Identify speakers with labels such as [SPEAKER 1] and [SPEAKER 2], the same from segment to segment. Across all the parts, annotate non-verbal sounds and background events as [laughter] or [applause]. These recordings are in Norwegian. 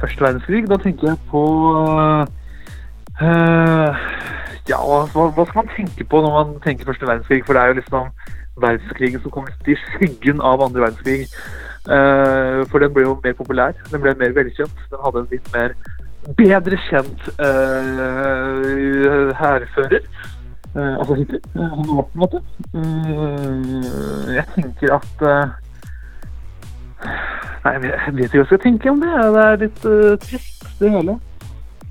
[SPEAKER 1] første verdenskrig. Da tenker jeg på eh, Ja, hva, hva skal man tenke på når man tenker første verdenskrig? For det er jo liksom verdenskrigen som kom litt i skyggen av andre verdenskrig. Eh, for den ble jo mer populær. Den ble mer velkjent. Den hadde en litt mer bedre kjent eh, hærfører. Eh, altså Hitler. eh, Han var på en måte. Eh, jeg tenker at eh, Nei, jeg vet jeg vet ikke hva jeg skal tenke om det. Det er litt eh, trist, det hele.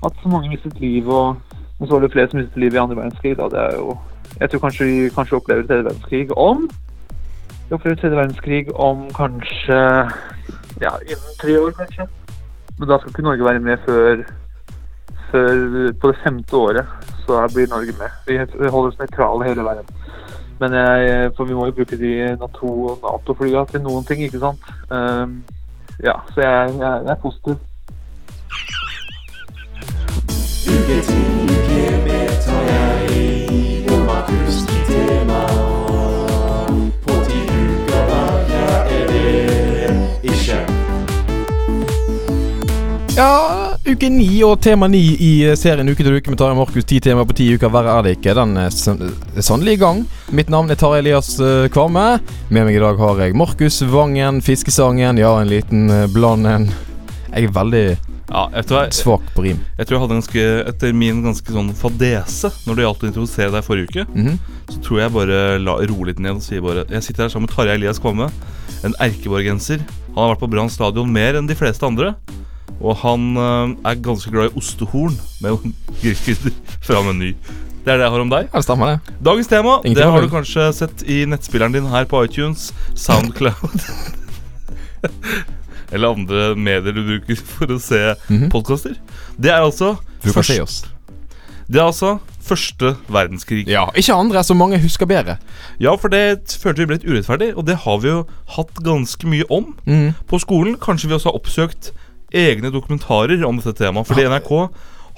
[SPEAKER 1] At så mange mistet liv, og, og så var det flere som mistet liv i andre verdenskrig. Da. Det er jo Jeg tror kanskje vi kanskje opplever tredje verdenskrig om Vi opplever tredje verdenskrig om kanskje Ja, innen tre år, kanskje. Men da skal ikke Norge være med før, før på det femte året. Så da blir Norge med. Vi holder oss nøytrale hele veien. Men jeg, for vi må jo bruke de Nato- og Nato-flya til noen ting, ikke sant. Ehm, ja, så jeg, jeg, jeg er positiv.
[SPEAKER 2] Ja, uke ni og tema ni i eh, serien Uke til uke med Tarjei Markus. Ti temaer på ti uker, verre er det ikke. Den er sann- er sannelig i gang. Mitt navn er Tarjei Elias eh, Kvamme. Med meg i dag har jeg Markus Vangen, Fiskesangen, ja, en liten eh, bland en. Jeg er veldig
[SPEAKER 3] Ja, vet du hva?
[SPEAKER 2] svak på rim.
[SPEAKER 3] Jeg tror jeg hadde en ganske, etter min ganske sånn fadese når det gjaldt å introdusere deg forrige uke,
[SPEAKER 2] Mhm.
[SPEAKER 3] så tror jeg bare la roe litt ned og sier bare Jeg sitter her sammen med Tarjei Elias Kvamme, en erkeborgenser. Han har vært på Brann stadion mer enn de fleste andre. Og han eh, er ganske glad i ostehorn med [laughs] grillkrydder fra Meny. Det er det jeg har om deg.
[SPEAKER 2] Ja, det stemmer, det.
[SPEAKER 3] Dagens tema
[SPEAKER 2] Ingenting
[SPEAKER 3] det
[SPEAKER 2] om
[SPEAKER 3] har du
[SPEAKER 2] meg.
[SPEAKER 3] kanskje sett i nettspilleren din her på iTunes, Soundcloud [laughs] Eller andre medier du bruker for å se
[SPEAKER 2] Mhm.
[SPEAKER 3] podkaster. Det er altså
[SPEAKER 2] Du kan
[SPEAKER 3] først-
[SPEAKER 2] se oss.
[SPEAKER 3] det er altså første verdenskrig. Ja.
[SPEAKER 2] Ja, ikke andre som mange husker bedre.
[SPEAKER 3] for det følte vi ble litt urettferdig, og det har vi jo hatt ganske mye om
[SPEAKER 2] Mhm.
[SPEAKER 3] på skolen. Kanskje vi også har oppsøkt egne dokumentarer om dette temaet, fordi NRK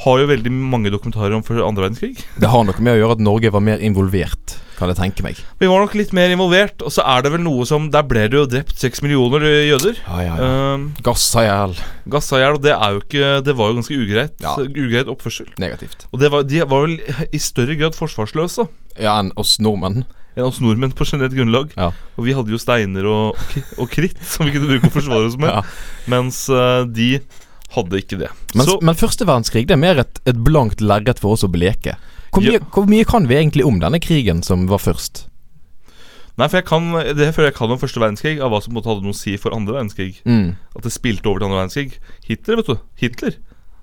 [SPEAKER 3] har jo veldig mange dokumentarer om før andre verdenskrig.
[SPEAKER 2] Det har noe med å gjøre at Norge var mer involvert, kan jeg tenke meg.
[SPEAKER 3] Vi var nok litt mer involvert, og så er det vel noe som Der ble det jo drept seks millioner eh, jøder.
[SPEAKER 2] Ja, ja, ja.
[SPEAKER 3] Uh,
[SPEAKER 2] Gassa i hjel.
[SPEAKER 3] Gassa i hjel, og det, er jo ikke, det var jo ganske ugreit.
[SPEAKER 2] Ja.
[SPEAKER 3] Ugreit oppførsel.
[SPEAKER 2] Negativt.
[SPEAKER 3] Og det var, de var vel i større grad forsvarsløse
[SPEAKER 2] Ja, enn oss nordmenn.
[SPEAKER 3] enn oss nordmenn på generelt grunnlag.
[SPEAKER 2] Ja.
[SPEAKER 3] Og vi hadde jo steiner og, og kritt [laughs] som vi kunne bruke å forsvare oss med,
[SPEAKER 2] Ja.
[SPEAKER 3] mens eh, de hadde ikke det.
[SPEAKER 2] Men,
[SPEAKER 3] Så
[SPEAKER 2] men første verdenskrig det er mer et, et blankt lerret for oss å bleke. Hvor mye,
[SPEAKER 3] Ja.
[SPEAKER 2] hvor mye kan vi egentlig om denne krigen som var først?
[SPEAKER 3] Nei, for jeg kan, det føler jeg kan om første verdenskrig, av hva som på en måte hadde noe å si for andre verdenskrig.
[SPEAKER 2] Mm.
[SPEAKER 3] At det spilte over til andre verdenskrig. Hitler, vet du. Hitler.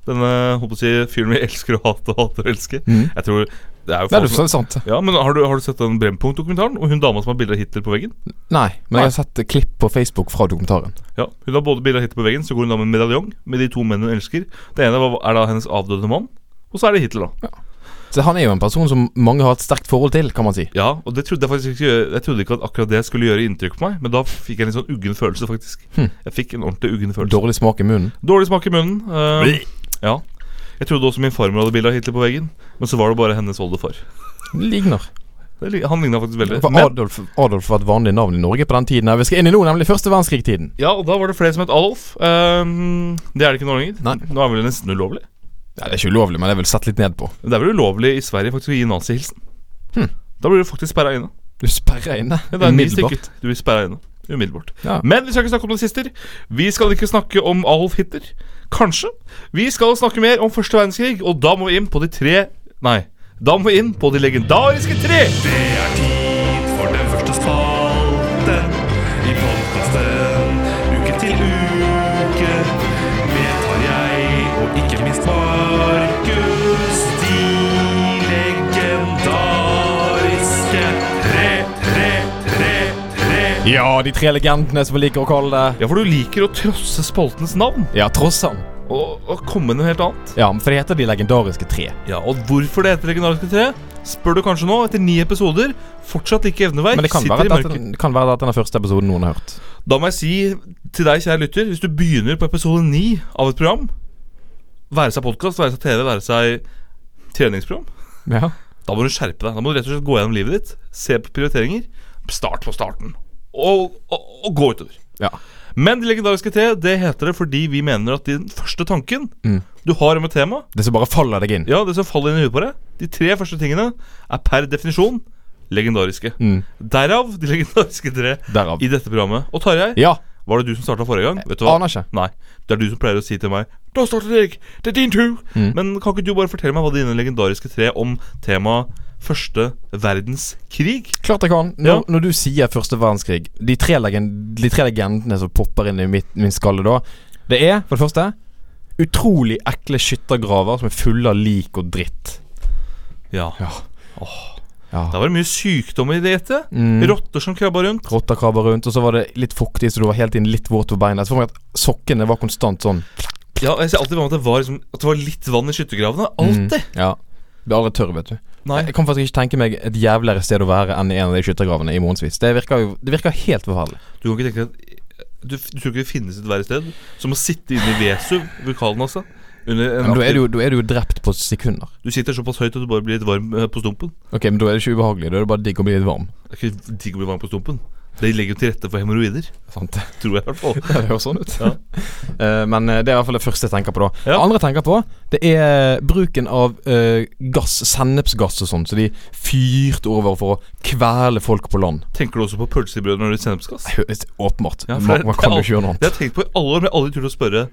[SPEAKER 3] Denne håper å si, fyren vi [laughs] elsker å hate og hater å elske.
[SPEAKER 2] Mhm.
[SPEAKER 3] Jeg tror det er jo
[SPEAKER 2] Nei,
[SPEAKER 3] folk
[SPEAKER 2] du
[SPEAKER 3] som-
[SPEAKER 2] sa sant.
[SPEAKER 3] Ja, men har du, har du sett den Brennpunkt-dokumentaren? Og hun dama som har bilde av Hitler på veggen?
[SPEAKER 2] Nei, men jeg har sett klipp på Facebook fra dokumentaren.
[SPEAKER 3] Ja, Hun har både bilde av Hitler på veggen, så går hun da med medaljong med de to mennene hun elsker. Det ene var- er da hennes avdøde mann, og så er det Hitler, da.
[SPEAKER 2] Så han er jo en person som mange har et sterkt forhold til, kan man si.
[SPEAKER 3] Ja, og det trodde jeg faktisk ikke gjøre- Jeg trodde ikke at akkurat det skulle gjøre inntrykk på meg, men da fikk jeg en litt sånn uggen følelse, faktisk.
[SPEAKER 2] Hm.
[SPEAKER 3] Jeg fikk en ordentlig uggen følelse.
[SPEAKER 2] Dårlig smak i munnen.
[SPEAKER 3] Dårlig smak i munnen. eh, ja. Jeg trodde også min farmor hadde bilde av Hitler på veggen, men så var det bare hennes oldefar.
[SPEAKER 2] Ligner.
[SPEAKER 3] Det lig- Han ligna faktisk veldig.
[SPEAKER 2] For
[SPEAKER 3] Men,
[SPEAKER 2] Adolf, Adolf var et vanlig navn i Norge på den tiden. Vi skal inn i nå, nemlig første verdenskrig-tiden.
[SPEAKER 3] ja, og da var det flere som het Adolf. Eh, det er det ikke nå lenger.
[SPEAKER 2] Nei.
[SPEAKER 3] Nå er det vel nesten ulovlig.
[SPEAKER 2] Ja, det er ikke ulovlig, men det er vel sett litt ned på.
[SPEAKER 3] Men Det er vel ulovlig i Sverige faktisk å gi nazihilsen.
[SPEAKER 2] Hm.
[SPEAKER 3] Da blir du faktisk sperra inne.
[SPEAKER 2] Du sperrer inne.
[SPEAKER 3] Ja, det er ni
[SPEAKER 2] Umiddelbart.
[SPEAKER 3] stykker. Du blir sperra inne. Umiddelbart.
[SPEAKER 2] Ja.
[SPEAKER 3] Men vi skal ikke snakke om nazister. Vi skal ikke snakke om Adolf Hitler. Kanskje. Vi skal snakke mer om første verdenskrig, og da må vi inn på de tre Nei. Da må vi inn på de legendariske tre.
[SPEAKER 4] Det er tid for den første spalten i podkasten Uke til uke med Tarjei og ikke minst Markus. De legendariske tre, tre, tre, tre.
[SPEAKER 2] Ja, de tre legendene som vi liker å kalle det.
[SPEAKER 3] Ja, for du liker å trosse spaltenes navn
[SPEAKER 2] Ja, Trossan.
[SPEAKER 3] og, og komme med noe helt annet.
[SPEAKER 2] Ja, for det heter de legendariske tre.
[SPEAKER 3] Ja, Og hvorfor det heter legendariske tre, spør du kanskje nå, etter ni episoder. Fortsatt ikke evneverk.
[SPEAKER 2] Men det kan
[SPEAKER 3] sitter
[SPEAKER 2] være,
[SPEAKER 3] i
[SPEAKER 2] at
[SPEAKER 3] mørket.
[SPEAKER 2] dette, kan være at denne første episoden noen har hørt.
[SPEAKER 3] Da må jeg si til deg, kjære lytter, hvis du begynner på episode 9 av et program, være seg podkast, være seg TV, være seg treningsprogram,
[SPEAKER 2] Ja.
[SPEAKER 3] da må du skjerpe deg. Da må du rett og slett gå gjennom livet ditt, se på prioriteringer, start på starten, og, og, og gå utover.
[SPEAKER 2] Ja.
[SPEAKER 3] Men Det legendariske te det heter det fordi vi mener at den første tanken
[SPEAKER 2] Mm.
[SPEAKER 3] du har om et tema,
[SPEAKER 2] Det som bare faller deg inn.
[SPEAKER 3] ja, det som faller inn i huet på deg, de tre første tingene er per definisjon legendariske.
[SPEAKER 2] Mm.
[SPEAKER 3] Derav de legendariske tre
[SPEAKER 2] Derav.
[SPEAKER 3] i dette programmet. Og Tarjei,
[SPEAKER 2] Ja.
[SPEAKER 3] var det du som starta forrige gang? Vet du hva?
[SPEAKER 2] Aner ikke.
[SPEAKER 3] Nei. Det er du som pleier å si til meg Da starter Erik, det er din tur!
[SPEAKER 2] Mm.
[SPEAKER 3] Men kan ikke du bare fortelle meg hva dine legendariske tre om temaet første verdenskrig?
[SPEAKER 2] Klart jeg kan. Når,
[SPEAKER 3] Ja.
[SPEAKER 2] når du sier første verdenskrig, de tre, legen, de tre legendene som popper inn i mitt, min skalle da, det er for det første utrolig ekle skyttergraver som er fulle av lik og dritt.
[SPEAKER 3] Ja.
[SPEAKER 2] Ja.
[SPEAKER 3] Da var det mye sykdommer i det etter.
[SPEAKER 2] Mm.
[SPEAKER 3] Rotter som krabba rundt.
[SPEAKER 2] Rotter krabber rundt, og så var det litt fuktig, så du var helt inn litt våt på beina. Så får man at sokkene var konstant sånn.
[SPEAKER 3] Ja, jeg ser alltid for meg at det var, liksom, at det var litt vann i skyttergravene. Alltid!
[SPEAKER 2] Ja. Blir aldri tørr, vet du.
[SPEAKER 3] Nei.
[SPEAKER 2] Jeg kan faktisk ikke tenke meg et jævligere sted å være enn i en av de skyttergravene i månedsvis. Det virker, jo- det virker helt forferdelig.
[SPEAKER 3] Du kan ikke tenke deg at du, du tror ikke det finnes et verre sted som å sitte inne i Vesuv, vulkanen altså. Under en
[SPEAKER 2] Men da er,
[SPEAKER 3] natt-
[SPEAKER 2] du, jo- da er du jo drept på sekunder.
[SPEAKER 3] du sitter såpass høyt at du bare blir litt varm eh, på stumpen.
[SPEAKER 2] Ok, men da er det ikke ubehagelig. Da er det bare digg å bli litt varm.
[SPEAKER 3] Det er ikke digg å bli varm på stumpen. Det legger jo til rette for hemoroider.
[SPEAKER 2] Sant? [laughs]
[SPEAKER 3] Tror jeg i hvert fall.
[SPEAKER 2] Ja, det høres sånn ut. [laughs] Eh, men eh, det er i hvert fall det første jeg tenker på. da
[SPEAKER 3] Ja.
[SPEAKER 2] Det andre jeg tenker på, det er bruken av eh, gass, sennepsgass og sånn, som de fyrte over for å kvele folk på land.
[SPEAKER 3] Tenker du også på pølse i brød når du sennepsgass?
[SPEAKER 2] Det høres Åpenbart.
[SPEAKER 3] Ja, for
[SPEAKER 2] man,
[SPEAKER 3] det-
[SPEAKER 2] man kan
[SPEAKER 3] det er
[SPEAKER 2] jo ikke gjøre noe
[SPEAKER 3] Det
[SPEAKER 2] annet.
[SPEAKER 3] har jeg tenkt på i alle år, men jeg har aldri turt å spørre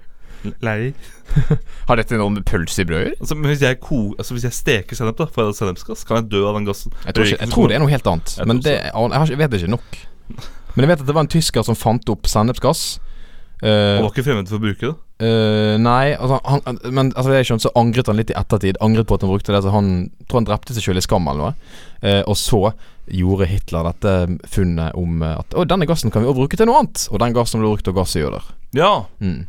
[SPEAKER 3] lærer.
[SPEAKER 2] Har dette noe med pølse i brødet å gjøre?
[SPEAKER 3] Altså, men hvis jeg, ko, altså, hvis jeg steker sennep, da, får jeg da sennepsgass? Kan jeg dø av den gassen?
[SPEAKER 2] Jeg tror, ikke, jeg tror det er noe helt annet.
[SPEAKER 3] Jeg
[SPEAKER 2] Men
[SPEAKER 3] tror
[SPEAKER 2] det, jeg, har, ikke- jeg vet ikke nok. Men jeg vet at det var en tysker som fant opp sennepsgass. Eh,
[SPEAKER 3] Han var ikke fremmed for å bruke det.
[SPEAKER 2] eh, nei, altså, han, han- men altså, det jeg skjønte, så angret han litt i ettertid. Angret på at han brukte det. Så han tror han drepte seg selv i skam eller noe. Eh, og så gjorde Hitler dette funnet om eh, at Å, denne gassen kan vi også bruke til noe annet. Og den gassen ble brukt til gassgjøder.
[SPEAKER 3] Ja,
[SPEAKER 2] Mm.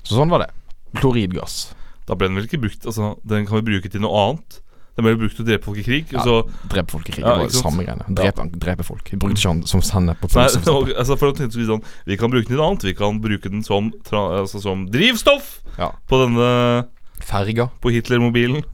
[SPEAKER 2] Så sånn var det. Kloridgass.
[SPEAKER 3] da ble den vel ikke brukt Altså, den kan vi bruke til noe annet. Den ble brukt til å drepe folk i krig. Og så,
[SPEAKER 2] Drepe folk i krig. det
[SPEAKER 3] Ja,
[SPEAKER 2] var
[SPEAKER 3] ikke
[SPEAKER 2] jo
[SPEAKER 3] sant?
[SPEAKER 2] samme greiene. Drepe, drepe folk. De brukte ikke han som sennep på
[SPEAKER 3] nei, [laughs]
[SPEAKER 2] pølse. for eksempel.
[SPEAKER 3] altså, for å tenke sånn, Vi kan bruke den til noe annet. Vi kan bruke den som, tra, altså, som drivstoff
[SPEAKER 2] Ja.
[SPEAKER 3] på denne
[SPEAKER 2] Ferga,
[SPEAKER 3] På Hitler-mobilen.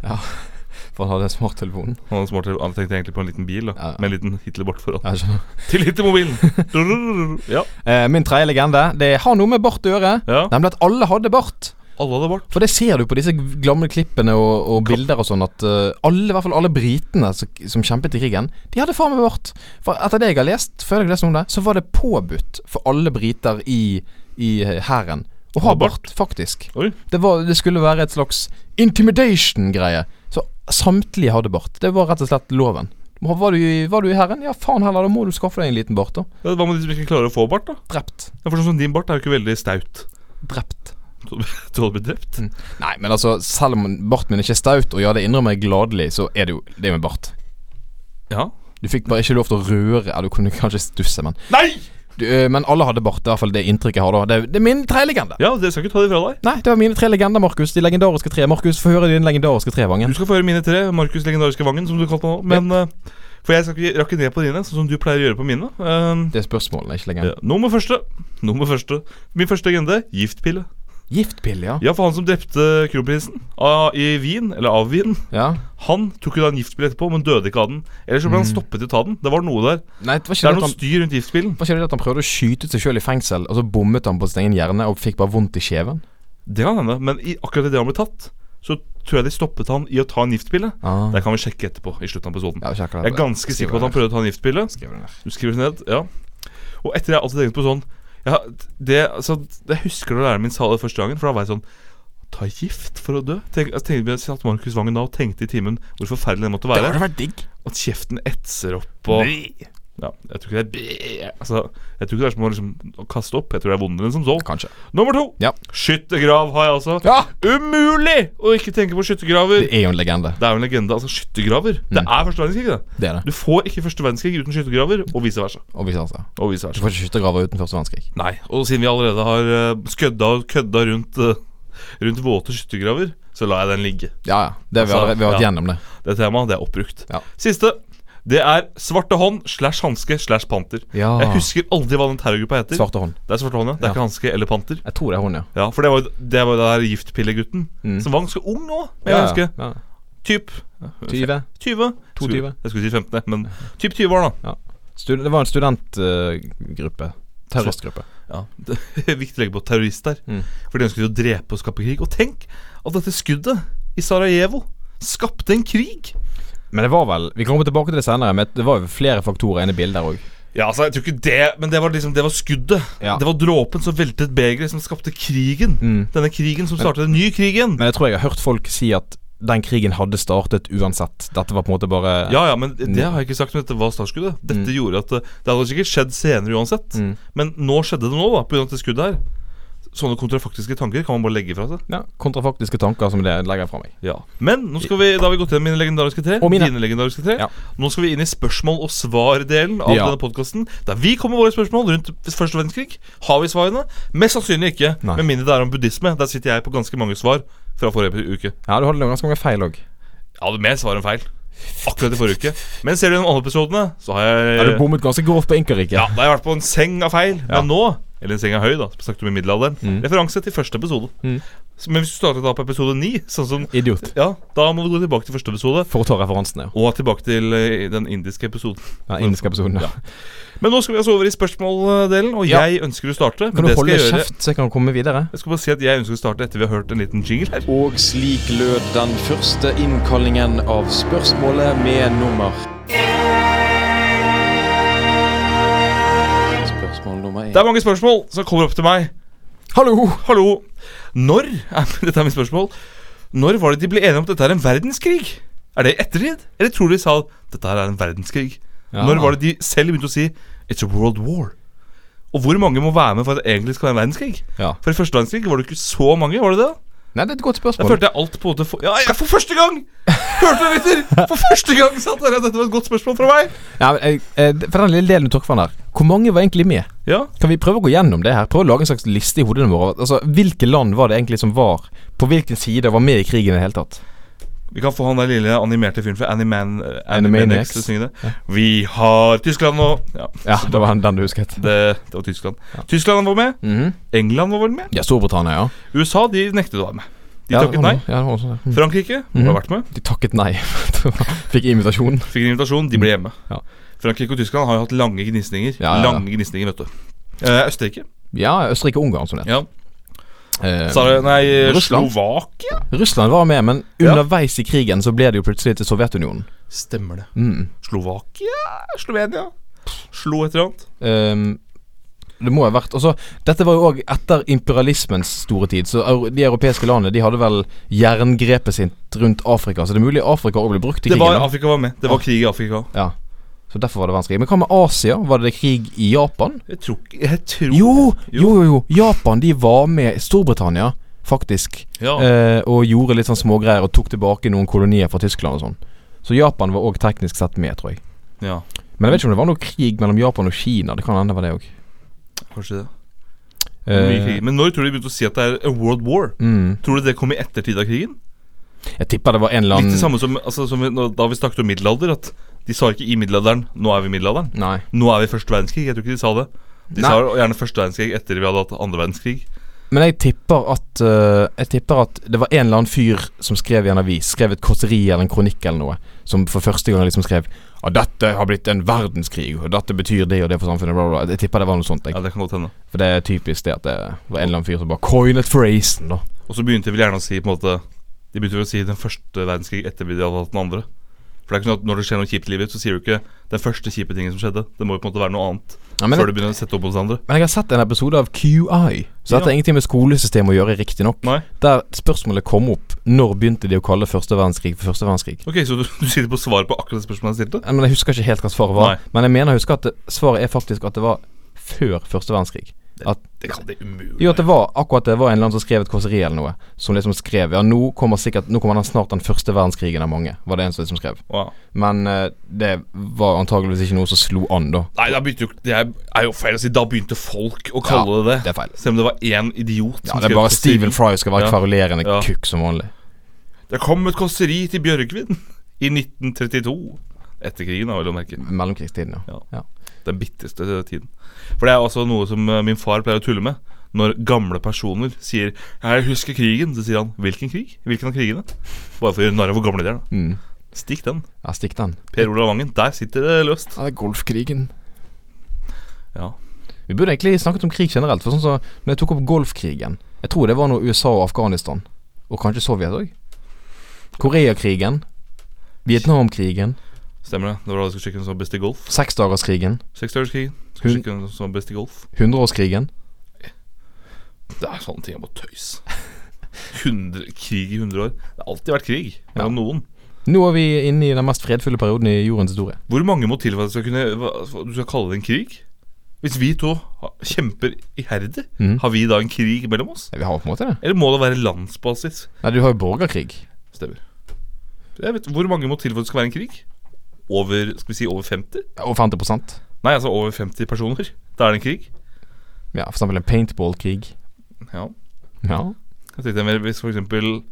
[SPEAKER 2] for han hadde en smarttelefon.
[SPEAKER 3] Han hadde smart- han tenkte egentlig på en liten bil da,
[SPEAKER 2] Ja, ja.
[SPEAKER 3] med en liten Hitler bort foran.
[SPEAKER 2] Jeg skjønner.
[SPEAKER 3] Til Hitler-mobilen! [laughs] ja,
[SPEAKER 2] Eh, min tredje legende Det har noe med bart å gjøre.
[SPEAKER 3] ja.
[SPEAKER 2] Nemlig at alle hadde bart.
[SPEAKER 3] Alle hadde bart.
[SPEAKER 2] For det ser du på disse gamle klippene og, og bilder og sånn, at eh, alle, i hvert fall alle britene som, som kjempet i krigen, de hadde faen meg bart. For etter det jeg har lest, før jeg leste om det, så var det påbudt for alle briter i, i eh, hæren å ha
[SPEAKER 3] Ha bart?
[SPEAKER 2] bart, faktisk.
[SPEAKER 3] Oi.
[SPEAKER 2] Det, var, det skulle være et slags intimidation-greie. Så samtlige hadde bart. Det var rett og slett loven. Var du, i- var du i hæren? Ja, faen heller, da må du skaffe deg en liten bart, da.
[SPEAKER 3] Ja, Hva med de som ikke klarer å få bart, da?
[SPEAKER 2] Drept.
[SPEAKER 3] Ja, for sånn som Din bart er jo ikke veldig staut. [laughs]
[SPEAKER 2] Drept.
[SPEAKER 3] Du hadde blitt drept?
[SPEAKER 2] Nei, men altså, selv om barten min ikke er staut, og ja, det innrømmer jeg gladelig, så er det jo det med bart.
[SPEAKER 3] Ja.
[SPEAKER 2] Du fikk bare ikke lov til å røre, eller du kunne kanskje stusse, men
[SPEAKER 3] Nei!
[SPEAKER 2] du, eh, Men alle hadde bart, det er i hvert fall det inntrykket jeg har da. Det, er- det er mine tre legender.
[SPEAKER 3] Ja, Dere skal ikke ta det fra deg.
[SPEAKER 2] Nei, det var mine tre legender, Markus. De legendariske tre. Markus, få høre din legendariske
[SPEAKER 3] Du
[SPEAKER 2] trevangen.
[SPEAKER 3] skal få høre mine tre. Markus legendariske Vangen, som du kalte meg nå. Men eh, For jeg skal ikke rakke ned på dine, sånn som du pleier å gjøre på mine. Eh,
[SPEAKER 2] Det er spørsmålene, ikke
[SPEAKER 3] ja.
[SPEAKER 2] legenden.
[SPEAKER 3] Nummer første. Nummer første Min første legende giftpille.
[SPEAKER 2] Giftpille, ja.
[SPEAKER 3] Ja, for han som drepte kronprinsen av- i Wien, eller av Wien,
[SPEAKER 2] ja.
[SPEAKER 3] han tok jo da en giftpille etterpå, men døde ikke av den. Eller så ble han stoppet i å ta den. Det var noe der.
[SPEAKER 2] Nei, det var
[SPEAKER 3] Det
[SPEAKER 2] ikke det
[SPEAKER 3] er
[SPEAKER 2] at
[SPEAKER 3] noe
[SPEAKER 2] han
[SPEAKER 3] styr rundt giftpillen.
[SPEAKER 2] var ikke det at han prøvde å skyte ut seg sjøl i fengsel, og så bommet han på sin egen hjerne og fikk bare vondt i kjeven?
[SPEAKER 3] Det kan hende, men i akkurat idet han ble tatt, så tror jeg de stoppet han i å ta en giftpille.
[SPEAKER 2] Ah.
[SPEAKER 3] Det kan vi sjekke etterpå. i slutten av episoden
[SPEAKER 2] Ja, sjekker
[SPEAKER 3] Jeg er ganske sikker på at han prøvde å ta en giftpille.
[SPEAKER 2] prøvde
[SPEAKER 3] Du skriver det ned, ja Og etter det har jeg alltid tenkt på sånn ja, det, altså, Jeg husker da læreren min sa det første gangen, for da var jeg sånn Ta gift for å dø? Tenk, altså, tenkte vi satt Markus Vangen da og tenkte i timen hvor forferdelig det måtte
[SPEAKER 2] Det
[SPEAKER 3] være.
[SPEAKER 2] hadde vært digg.
[SPEAKER 3] At kjeften etser opp og ja, Jeg tror ikke det er altså, Jeg tror ikke det er som å liksom, å kaste opp. Jeg tror det er vondere enn som så.
[SPEAKER 2] Kanskje.
[SPEAKER 3] Nummer to!
[SPEAKER 2] Ja.
[SPEAKER 3] Skyttergrav har jeg altså.
[SPEAKER 2] Ja!
[SPEAKER 3] Umulig å ikke tenke på skyttergraver!
[SPEAKER 2] Det er jo en legende.
[SPEAKER 3] Det er jo en legende. altså Skyttergraver. Det er første verdenskrig. det
[SPEAKER 2] Det er det.
[SPEAKER 3] Du får ikke første verdenskrig uten skyttergraver, og vice versa.
[SPEAKER 2] Og vice versa.
[SPEAKER 3] Og vice versa.
[SPEAKER 2] Du får ikke skyttergraver uten første verdenskrig.
[SPEAKER 3] Nei, og siden vi allerede har eh, skødda og kødda rundt, eh, rundt våte skyttergraver, så lar jeg den ligge.
[SPEAKER 2] Ja, ja. Det, vi,
[SPEAKER 3] Altså,
[SPEAKER 2] har, vi har vært
[SPEAKER 3] ja.
[SPEAKER 2] gjennom det.
[SPEAKER 3] Det temaet det er oppbrukt.
[SPEAKER 2] Ja.
[SPEAKER 3] Siste. Det er svarte hånd slash hanske slash panter.
[SPEAKER 2] Ja.
[SPEAKER 3] Jeg husker aldri hva den terrorgruppa heter.
[SPEAKER 2] Svarte hånd.
[SPEAKER 3] Det er svarte hånd, ja. Det er
[SPEAKER 2] Ja.
[SPEAKER 3] ikke hanske eller panter.
[SPEAKER 2] Jeg tror det er hun, ja.
[SPEAKER 3] Ja, For det var jo det, var jo det der giftpillegutten
[SPEAKER 2] Mm.
[SPEAKER 3] som var ganske ung nå. Men jeg husker
[SPEAKER 2] ja.
[SPEAKER 3] typ
[SPEAKER 2] 20.
[SPEAKER 3] 20.
[SPEAKER 2] 22.
[SPEAKER 3] Jeg skulle si 15, men typ 20 år, da.
[SPEAKER 2] Stud det var en studentgruppe. Terroristgruppe.
[SPEAKER 3] Ja, det er [laughs] viktig å legge på terrorist der.
[SPEAKER 2] Mm.
[SPEAKER 3] For de ønsket jo å drepe og skape krig. Og tenk at dette skuddet i Sarajevo skapte en krig!
[SPEAKER 2] Men det var vel Vi kommer tilbake til det senere, men det var jo flere faktorer inne i bildet der òg.
[SPEAKER 3] Ja, altså, jeg tror ikke det Men det var liksom, det var skuddet.
[SPEAKER 2] Ja.
[SPEAKER 3] Det var dråpen som veltet begeret, som skapte krigen.
[SPEAKER 2] Mm.
[SPEAKER 3] Denne krigen som startet den nye krigen.
[SPEAKER 2] Men jeg tror jeg har hørt folk si at den krigen hadde startet uansett. Dette var på en måte bare
[SPEAKER 3] ja, ja, men det har jeg ikke sagt, men dette var startskuddet. Dette gjorde at eh, Det hadde sikkert skjedd senere uansett,
[SPEAKER 2] Mm.
[SPEAKER 3] men nå skjedde det nå, da, pga. det skuddet her. Sånne kontrafaktiske tanker kan man bare legge fra seg.
[SPEAKER 2] Ja, kontrafaktiske tanker som det legger jeg fra meg.
[SPEAKER 3] Ja. Men nå skal vi, da har vi gått gjennom mine legendariske tre.
[SPEAKER 2] Og mine.
[SPEAKER 3] Dine legendariske tre.
[SPEAKER 2] Ja.
[SPEAKER 3] Nå skal vi inn i spørsmål og svar-delen av
[SPEAKER 2] Ja.
[SPEAKER 3] denne podkasten. Der vi kommer med våre spørsmål rundt første verdenskrig. Har vi svarene? Mest sannsynlig ikke.
[SPEAKER 2] Nei.
[SPEAKER 3] Med mindre det er om buddhisme. Der sitter jeg på ganske mange svar fra forrige uke.
[SPEAKER 2] Ja, du hadde noen ganske mange feil òg.
[SPEAKER 3] Jeg hadde mer svar enn feil. Akkurat i forrige uke. Men ser du gjennom alle episodene, så har
[SPEAKER 2] Har du
[SPEAKER 3] jeg
[SPEAKER 2] bommet ganske grovt på Inkerike?
[SPEAKER 3] Ja, da har jeg vært på en seng av feil. Men nå eller en seng av høy, da. som Snakket om i middelalderen.
[SPEAKER 2] Mm.
[SPEAKER 3] Referanse til første episode. Så- Men hvis du starter da på episode ni, sånn som
[SPEAKER 2] Idiot.
[SPEAKER 3] Ja, da må du gå tilbake til første episode.
[SPEAKER 2] For å ta referansene, ja.
[SPEAKER 3] Og tilbake til eh, den indiske episoden.
[SPEAKER 2] Den indiske episoden. Ja.
[SPEAKER 3] Men nå skal vi altså over i spørsmåldelen, og
[SPEAKER 2] Ja.
[SPEAKER 3] jeg ønsker å starte. Men
[SPEAKER 2] Kan du
[SPEAKER 3] det skal
[SPEAKER 2] holde
[SPEAKER 3] jeg gjøre
[SPEAKER 2] kjeft, så jeg kan komme videre?
[SPEAKER 3] Jeg skal bare si at jeg ønsker å starte etter vi har hørt en liten jingle her.
[SPEAKER 5] Og slik lød den første innkallingen av spørsmålet med nummer. Spørsmål nummer én.
[SPEAKER 3] Det er mange spørsmål som kommer opp til meg.
[SPEAKER 2] Hallo!
[SPEAKER 3] Hallo! Når Dette er [laughs] mitt spørsmål. Når var det de ble enige om at dette er en verdenskrig? Er det i ettertid? Eller tror du de sa dette her er en verdenskrig?
[SPEAKER 2] Ja.
[SPEAKER 3] Når var det de selv begynte å si It's a world war? Og hvor mange må være med for at det egentlig skal være en verdenskrig?
[SPEAKER 2] Ja.
[SPEAKER 3] For i første verdenskrig var det ikke så mange, var det det?
[SPEAKER 2] Nei, det er et godt
[SPEAKER 3] Da
[SPEAKER 2] spørsmål.
[SPEAKER 3] følte jeg alt på en måte for, ja, ja, for første gang! Hørte du, Victor? For første gang satt dere at dette var et godt spørsmål fra meg.
[SPEAKER 2] Ja, men, jeg, eh, for den lille delen du tok fra den der, hvor mange var egentlig med?
[SPEAKER 3] Ja,
[SPEAKER 2] Kan vi prøve å gå gjennom det her? Prøve å lage en slags liste i hodene våre. Altså, Hvilke land var det egentlig som var på hvilken side og var med i krigen i det hele tatt?
[SPEAKER 3] Vi kan få han der lille animerte fyren fra Animan, eh,
[SPEAKER 2] Animaniacs.
[SPEAKER 3] Animaniacs til å synge det. Vi har Tyskland nå. Ja,
[SPEAKER 2] Ja, [laughs] det var den du husket.
[SPEAKER 3] det, det var Tyskland. Tyskland var med. England var vel med.
[SPEAKER 2] Ja, Storbritannia, ja.
[SPEAKER 3] USA de nektet å være med. De
[SPEAKER 2] ja,
[SPEAKER 3] takket nei.
[SPEAKER 2] Ja, det var sånn, ja.
[SPEAKER 3] Frankrike har vært med.
[SPEAKER 2] De takket nei. [laughs] Fikk invitasjon.
[SPEAKER 3] Fikk en invitasjon, de ble hjemme.
[SPEAKER 2] Mhm. Ja.
[SPEAKER 3] Frankrike og Tyskland har jo hatt lange gnisninger.
[SPEAKER 2] Ja, ja, ja.
[SPEAKER 3] Lange gnisninger, vet du. Eh, Østerrike.
[SPEAKER 2] Ja, Østerrike og Ungarn, sånn som det
[SPEAKER 3] Ja.
[SPEAKER 2] Eh,
[SPEAKER 3] Så er det, nei,
[SPEAKER 2] Russland.
[SPEAKER 3] Slovakia?
[SPEAKER 2] Russland var med, men
[SPEAKER 3] Ja.
[SPEAKER 2] underveis i krigen så ble det jo plutselig til Sovjetunionen.
[SPEAKER 3] Stemmer det.
[SPEAKER 2] Mm.
[SPEAKER 3] Slovakia? Slovenia? Slo et eller annet.
[SPEAKER 2] Ehm, det må ha vært altså, Dette var jo òg etter imperialismens store tid. Så eu- de europeiske landene de hadde vel jerngrepet sitt rundt Afrika. Så det er mulig Afrika òg ble brukt i
[SPEAKER 3] Det
[SPEAKER 2] krigen.
[SPEAKER 3] var
[SPEAKER 2] da.
[SPEAKER 3] Afrika var med. Det var krig i Afrika.
[SPEAKER 2] ja. Så derfor var det verdenskrig. Men hva med Asia? Var det krig i Japan?
[SPEAKER 3] Jeg tror ikke- Jeg tror
[SPEAKER 2] Jo, jo, jo. jo. Japan de var med Storbritannia, faktisk.
[SPEAKER 3] Ja.
[SPEAKER 2] Eh, og gjorde litt sånn smågreier og tok tilbake noen kolonier fra Tyskland og sånn. Så Japan var òg teknisk sett med, tror jeg.
[SPEAKER 3] ja.
[SPEAKER 2] Men jeg vet ikke om det var noe krig mellom Japan og Kina. Det kan hende det var det òg.
[SPEAKER 3] Kanskje det.
[SPEAKER 2] Eh,
[SPEAKER 3] Mye krig. Men når tror du de begynte å si at det er a world war?
[SPEAKER 2] Mm.
[SPEAKER 3] Tror du det kom i ettertid av krigen?
[SPEAKER 2] Jeg tipper det var en eller
[SPEAKER 3] Litt det
[SPEAKER 2] annen
[SPEAKER 3] samme som, altså, som vi, når- da vi snakket om middelalder, at de sa ikke i middelalderen 'nå er vi i middelalderen'.
[SPEAKER 2] Nei.
[SPEAKER 3] 'Nå er vi i første verdenskrig'. Jeg tror ikke de sa det. De
[SPEAKER 2] Nei.
[SPEAKER 3] sa gjerne første verdenskrig etter vi hadde hatt andre verdenskrig.
[SPEAKER 2] Men jeg tipper at eh, Jeg tipper at det var en eller annen fyr som skrev i en avis, skrev et kåseri eller en kronikk eller noe, som for første gang liksom skrev at dette har blitt en verdenskrig, og dette betyr det og det for samfunnet, bla, bla. bla. Jeg tipper det var noe sånt.
[SPEAKER 3] Ja,
[SPEAKER 2] Jeg.
[SPEAKER 3] det kan godt hende.
[SPEAKER 2] For det er typisk det at det var en eller annen fyr som bare coinet phrasen, da.
[SPEAKER 3] Og så begynte de vel gjerne å si på en måte De begynte vel å si den første verdenskrig etter vi hadde hatt den andre. For det er ikke sånn at når det skjer noe kjipt i livet, så sier du ikke den første kjipe tingen som skjedde. Det må jo på en måte være noe annet
[SPEAKER 2] Ja, men,
[SPEAKER 3] før du
[SPEAKER 2] jeg,
[SPEAKER 3] begynner å sette opp mot det andre.
[SPEAKER 2] men jeg har sett en episode av QI, så dette
[SPEAKER 3] Ja.
[SPEAKER 2] har ingenting med skolesystemet å gjøre, riktignok.
[SPEAKER 3] Nei.
[SPEAKER 2] Der spørsmålet kom opp når begynte de å kalle første verdenskrig for første verdenskrig?
[SPEAKER 3] Ok, Så du, du sitter på svar på akkurat det spørsmålet jeg stilte?
[SPEAKER 2] Ja, Men Jeg husker ikke helt hva svaret var.
[SPEAKER 3] Nei.
[SPEAKER 2] Men jeg mener jeg husker at det, svaret er faktisk at det var før første verdenskrig. At,
[SPEAKER 3] Det kan det umulig
[SPEAKER 2] jo, at det var akkurat det var en eller annen som skrev et kåseri eller noe. Som liksom skrev Ja, nå kommer sikkert Nå kommer den snart den første verdenskrigen av mange, var det en som liksom skrev.
[SPEAKER 3] Wow.
[SPEAKER 2] Men eh, det var antageligvis ikke noe som slo an, da.
[SPEAKER 3] Nei, da begynte jo, det er- er jo feil å si. Da begynte folk å kalle det
[SPEAKER 2] Det
[SPEAKER 3] det.
[SPEAKER 2] er feil.
[SPEAKER 3] Selv om det var én idiot
[SPEAKER 2] Ja,
[SPEAKER 3] Eh, som
[SPEAKER 2] det er
[SPEAKER 3] skrev
[SPEAKER 2] bare
[SPEAKER 3] et kåseri.
[SPEAKER 2] Stephen Fry skal være
[SPEAKER 3] Ja.
[SPEAKER 2] kverulerende
[SPEAKER 3] Ja.
[SPEAKER 2] kukk som vanlig.
[SPEAKER 3] Det kom et kåseri til Bjørgvin i 1932. Etter krigen, da, vel å merke.
[SPEAKER 2] Mellomkrigstiden, ja.
[SPEAKER 3] Ja. Den bitreste tiden. For det er også noe som eh, min far pleier å tulle med. Når gamle personer sier 'Jeg husker krigen', så sier han 'Hvilken krig?' Hvilken av krigene? Bare for å gjøre narr av hvor gamle de er, da.
[SPEAKER 2] Mm.
[SPEAKER 3] Stikk den.
[SPEAKER 2] Ja, stikk den.
[SPEAKER 3] Per Olav Vangen, der sitter det løst.
[SPEAKER 2] Ja, det er golfkrigen.
[SPEAKER 3] Ja.
[SPEAKER 2] Vi burde egentlig snakket om krig generelt. For sånn som når jeg tok opp Golfkrigen Jeg tror det var når USA og Afghanistan, og kanskje Sovjet òg. Koreakrigen. Vietnamkrigen.
[SPEAKER 3] Stemmer det. Det var da du skulle sjekke hvem som var best i golf.
[SPEAKER 2] Seksdagerskrigen.
[SPEAKER 3] Seksdagerskrigen.
[SPEAKER 2] Hun-
[SPEAKER 3] Skulle sjekke hvem som var best i golf.
[SPEAKER 2] Hundreårskrigen.
[SPEAKER 3] Det er sånne ting jeg må tøys. 100, krig i 100 år. Det har alltid vært krig mellom noen.
[SPEAKER 2] Nå er vi inne i den mest fredfulle perioden i jordens historie.
[SPEAKER 3] Hvor mange må til for at du skal kunne hva- hva- Du skal kalle det en krig? Hvis vi to ha- kjemper iherdig,
[SPEAKER 2] Mhm.
[SPEAKER 3] har vi da en krig mellom oss?
[SPEAKER 2] Ja, Vi har på en måte det.
[SPEAKER 3] Eller må det være landsbasis?
[SPEAKER 2] Nei, du har jo borgerkrig.
[SPEAKER 3] Stemmer. Jeg vet, hvor mange må til for at det skal være en krig? Over skal vi si over 50?
[SPEAKER 2] Og 50
[SPEAKER 3] Nei, altså over 50 personer. Da er det en krig.
[SPEAKER 2] Ja, for eksempel en paintballkrig.
[SPEAKER 3] Ja.
[SPEAKER 2] Ja.
[SPEAKER 3] Jeg tenkte mer Hvis for eksempel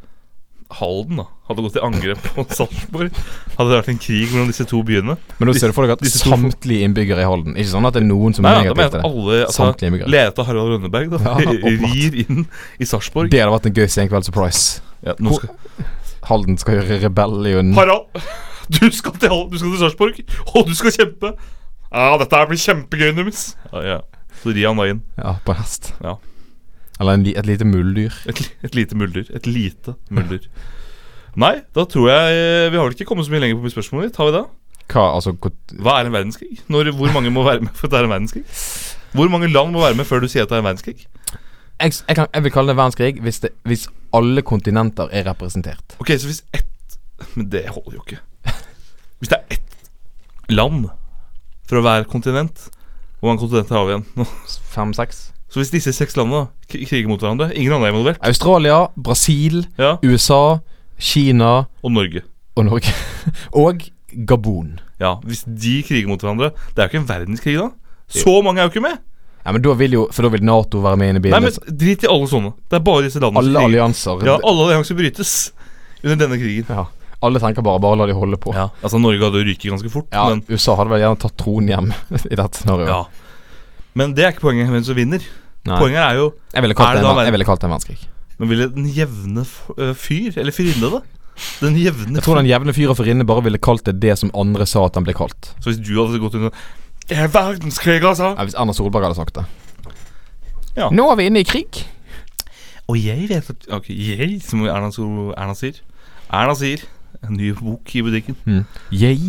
[SPEAKER 3] Halden da hadde gått til angrep på Sarpsborg, hadde det vært en krig mellom disse to byene.
[SPEAKER 2] Men da ser du for deg at
[SPEAKER 3] Disse to for-
[SPEAKER 2] samtlige innbyggere i Halden Ikke sånn at det er noen som
[SPEAKER 3] Nei,
[SPEAKER 2] er
[SPEAKER 3] da
[SPEAKER 2] negative
[SPEAKER 3] mener jeg at
[SPEAKER 2] til det.
[SPEAKER 3] alle
[SPEAKER 2] Samtlige
[SPEAKER 3] altså,
[SPEAKER 2] immigrant.
[SPEAKER 3] Lete Harald Rønneberg [laughs] da,
[SPEAKER 2] Ja, åpenbart.
[SPEAKER 3] rir inn i Sarpsborg.
[SPEAKER 2] Det hadde vært en gøy senkveld surprise.
[SPEAKER 3] Ja, nå skal-
[SPEAKER 2] Halden skal gjøre rebellion.
[SPEAKER 3] Harald, [laughs] du skal til, Halden, du skal til Sarpsborg, og du skal kjempe! Ja, dette her blir kjempegøy, Numis. Ja, ja. Så rir han da inn.
[SPEAKER 2] Ja, på en hest.
[SPEAKER 3] Ja.
[SPEAKER 2] Eller en, li- et lite muldyr.
[SPEAKER 3] Et, li- et lite mulder. Et lite [laughs] mulder. Nei, da tror jeg eh, Vi har vel ikke kommet så mye lenger på spørsmålet ditt, har vi det?
[SPEAKER 2] Hva, altså hvor-
[SPEAKER 3] Hva er en verdenskrig? Når, hvor mange må være med for at det er en verdenskrig? Hvor mange land må være med før du sier at det er en verdenskrig?
[SPEAKER 2] jeg, jeg, kan, jeg vil kalle det verdenskrig hvis, det, hvis alle kontinenter er representert.
[SPEAKER 3] Ok, så hvis ett Men det holder jo ikke. Hvis det er ett land fra hver kontinent Hvor mange kontinenter har vi igjen nå?
[SPEAKER 2] Fem-seks.
[SPEAKER 3] Så hvis disse seks landene kri- kriger mot hverandre Ingen andre er involvert.
[SPEAKER 2] Australia, Brasil,
[SPEAKER 3] Ja,
[SPEAKER 2] USA, Kina
[SPEAKER 3] Og Norge.
[SPEAKER 2] og Norge. [laughs] og Gabon.
[SPEAKER 3] Ja, Hvis de kriger mot hverandre Det er jo ikke en verdenskrig da. Så mange er jo ikke med!
[SPEAKER 2] Ja, men da vil jo, For da vil Nato være med inn i
[SPEAKER 3] Nei,
[SPEAKER 2] bildet.
[SPEAKER 3] men Drit i alle sånne. Det er bare disse landene
[SPEAKER 2] alle
[SPEAKER 3] som kriger.
[SPEAKER 2] allianser.
[SPEAKER 3] Ja, alle allianser brytes under denne krigen.
[SPEAKER 2] Ja. Alle tenker bare bare la de holde på.
[SPEAKER 3] Ja, altså Norge hadde jo ryket ganske fort,
[SPEAKER 2] Ja,
[SPEAKER 3] men
[SPEAKER 2] USA hadde vel gjerne tatt tronen hjem [laughs] i dette scenarioet.
[SPEAKER 3] Ja. Men det er ikke poenget hvem som vinner.
[SPEAKER 2] Nei.
[SPEAKER 3] Poenget er jo
[SPEAKER 2] Jeg ville
[SPEAKER 3] Er
[SPEAKER 2] kalt det,
[SPEAKER 3] det da
[SPEAKER 2] en-
[SPEAKER 3] verden?
[SPEAKER 2] jeg ville kalt det en verdenskrig.
[SPEAKER 3] Men ville den jevne f- øh, fyr, eller fyrinne, da? Den jevne
[SPEAKER 2] Jeg tror den jevne fyr og fyrinne bare ville kalt det det som andre sa at den ble kalt.
[SPEAKER 3] fyr. Så hvis du hadde gått under Det er verdenskrig, altså!
[SPEAKER 2] Ja, hvis Erna Solberg hadde sagt det.
[SPEAKER 3] Ja.
[SPEAKER 2] Nå er vi inne i krig.
[SPEAKER 3] Og jeg vet at Ok, jeg, som Erna, Sol- Erna sier. Erna sier en ny bok i butikken.
[SPEAKER 2] Jeg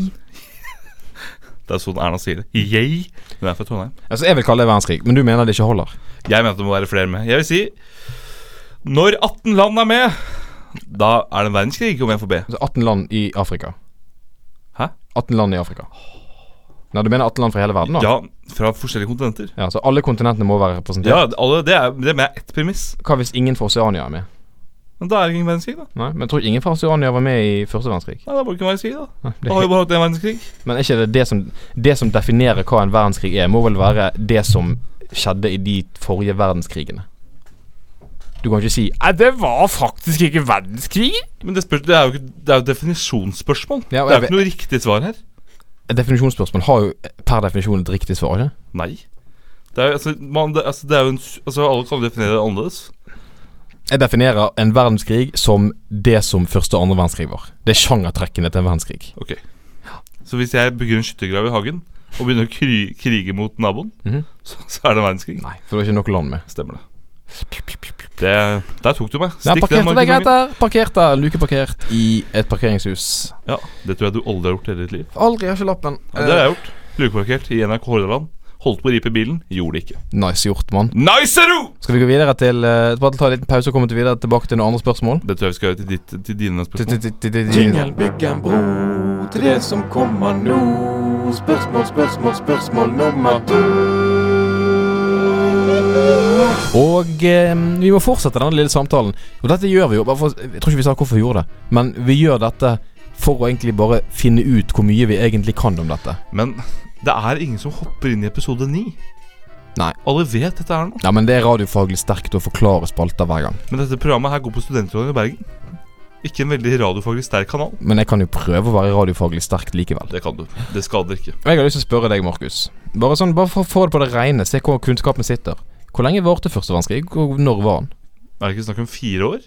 [SPEAKER 3] Det er sånn Erna sier det. Jeg. Hun er fra Trondheim.
[SPEAKER 2] Altså, jeg vil kalle det verdenskrig, men du mener det ikke holder?
[SPEAKER 3] Jeg mener at det må være flere med. Jeg vil si når 18 land er med, da er det en verdenskrig, om jeg får be.
[SPEAKER 2] Altså 18 land i Afrika.
[SPEAKER 3] Hæ?
[SPEAKER 2] 18 land i Afrika. Nei, du mener 18 land fra hele verden, da?
[SPEAKER 3] Ja, fra forskjellige kontinenter.
[SPEAKER 2] ja så alle kontinentene må være representert?
[SPEAKER 3] Ja, alle, det er, det er ett premiss.
[SPEAKER 2] Hva hvis ingen fra Oseania er med?
[SPEAKER 3] Men da er det ingen verdenskrig, da.
[SPEAKER 2] Nei, men jeg tror ingen fra Oseania var med i første verdenskrig.
[SPEAKER 3] Nei, da var det ikke en verdenskrig, da.
[SPEAKER 2] Nei,
[SPEAKER 3] Da
[SPEAKER 2] det,
[SPEAKER 3] har vi bare hatt en verdenskrig.
[SPEAKER 2] men er ikke det det som, det som definerer hva en verdenskrig er, må vel være det som skjedde i de forrige verdenskrigene? Du kan ikke si «Nei, det var faktisk ikke verdenskrig.
[SPEAKER 3] Men det, spørs, det er jo ikke, det er jo et definisjonsspørsmål.
[SPEAKER 2] Ja, og
[SPEAKER 3] det
[SPEAKER 2] jeg
[SPEAKER 3] er jo ikke noe riktig svar her.
[SPEAKER 2] Et definisjonsspørsmål har jo per definisjon et riktig svar, ikke?
[SPEAKER 3] Nei. Det er, jo- altså, man, det, altså, det er jo en, s- altså, alle kan definere det annerledes.
[SPEAKER 2] Jeg definerer en verdenskrig som det som første og andre verdenskrig var. Det er sjangertrekkene til en verdenskrig.
[SPEAKER 3] Ok. Så hvis jeg bygger en skyttergrav i hagen og begynner å kry, krige mot naboen,
[SPEAKER 2] Mhm.
[SPEAKER 3] så, så er det en verdenskrig.
[SPEAKER 2] Nei, for det var ikke noe land med.
[SPEAKER 3] Stemmer det. det. Der tok du meg.
[SPEAKER 2] Nei,
[SPEAKER 3] Stikk
[SPEAKER 2] parkert, det er
[SPEAKER 3] den
[SPEAKER 2] greit
[SPEAKER 3] markedsgangen.
[SPEAKER 2] der. Parkert der. Lukeparkert i et parkeringshus.
[SPEAKER 3] Ja, det tror jeg du aldri har gjort i hele ditt liv.
[SPEAKER 2] Aldri har ikke lappen.
[SPEAKER 3] Ja, det har jeg gjort. Lukeparkert i NRK Hordaland. Holdt på å ripe bilen. Gjorde det ikke.
[SPEAKER 2] Nice gjort, mann.
[SPEAKER 3] Nice, er du!
[SPEAKER 2] Skal vi gå videre til eh, Bare ta en liten pause og komme til videre tilbake til noen andre spørsmål?
[SPEAKER 3] Det tror jeg vi skal gjøre til, ditt, til dine spørsmål.
[SPEAKER 2] Jingle.
[SPEAKER 5] Jingle bygger en bro til det som kommer nå. Spørsmål, spørsmål, spørsmål nummer to.
[SPEAKER 2] Og eh, vi må fortsette denne lille samtalen. Og dette gjør vi jo bare for, Jeg tror ikke vi sa hvorfor vi gjorde det, men vi gjør dette for å egentlig bare finne ut hvor mye vi egentlig kan om dette.
[SPEAKER 3] Men det er ingen som hopper inn i episode 9.
[SPEAKER 2] Nei.
[SPEAKER 3] Alle vet dette er nå.
[SPEAKER 2] Ja, men det er radiofaglig sterkt å forklare spalter hver gang.
[SPEAKER 3] Men dette programmet her går på Studentrådet i Bergen. Ikke en veldig radiofaglig sterk kanal.
[SPEAKER 2] Men jeg kan jo prøve å være radiofaglig sterkt likevel.
[SPEAKER 3] Det kan du. Det skader ikke.
[SPEAKER 2] Og jeg har lyst til å spørre deg, Markus. Bare sånn, bare for å få det på det rene, se hvor kunnskapen sitter. Hvor lenge varte første verdenskrig, og når var den?
[SPEAKER 3] Er det ikke snakk om fire år?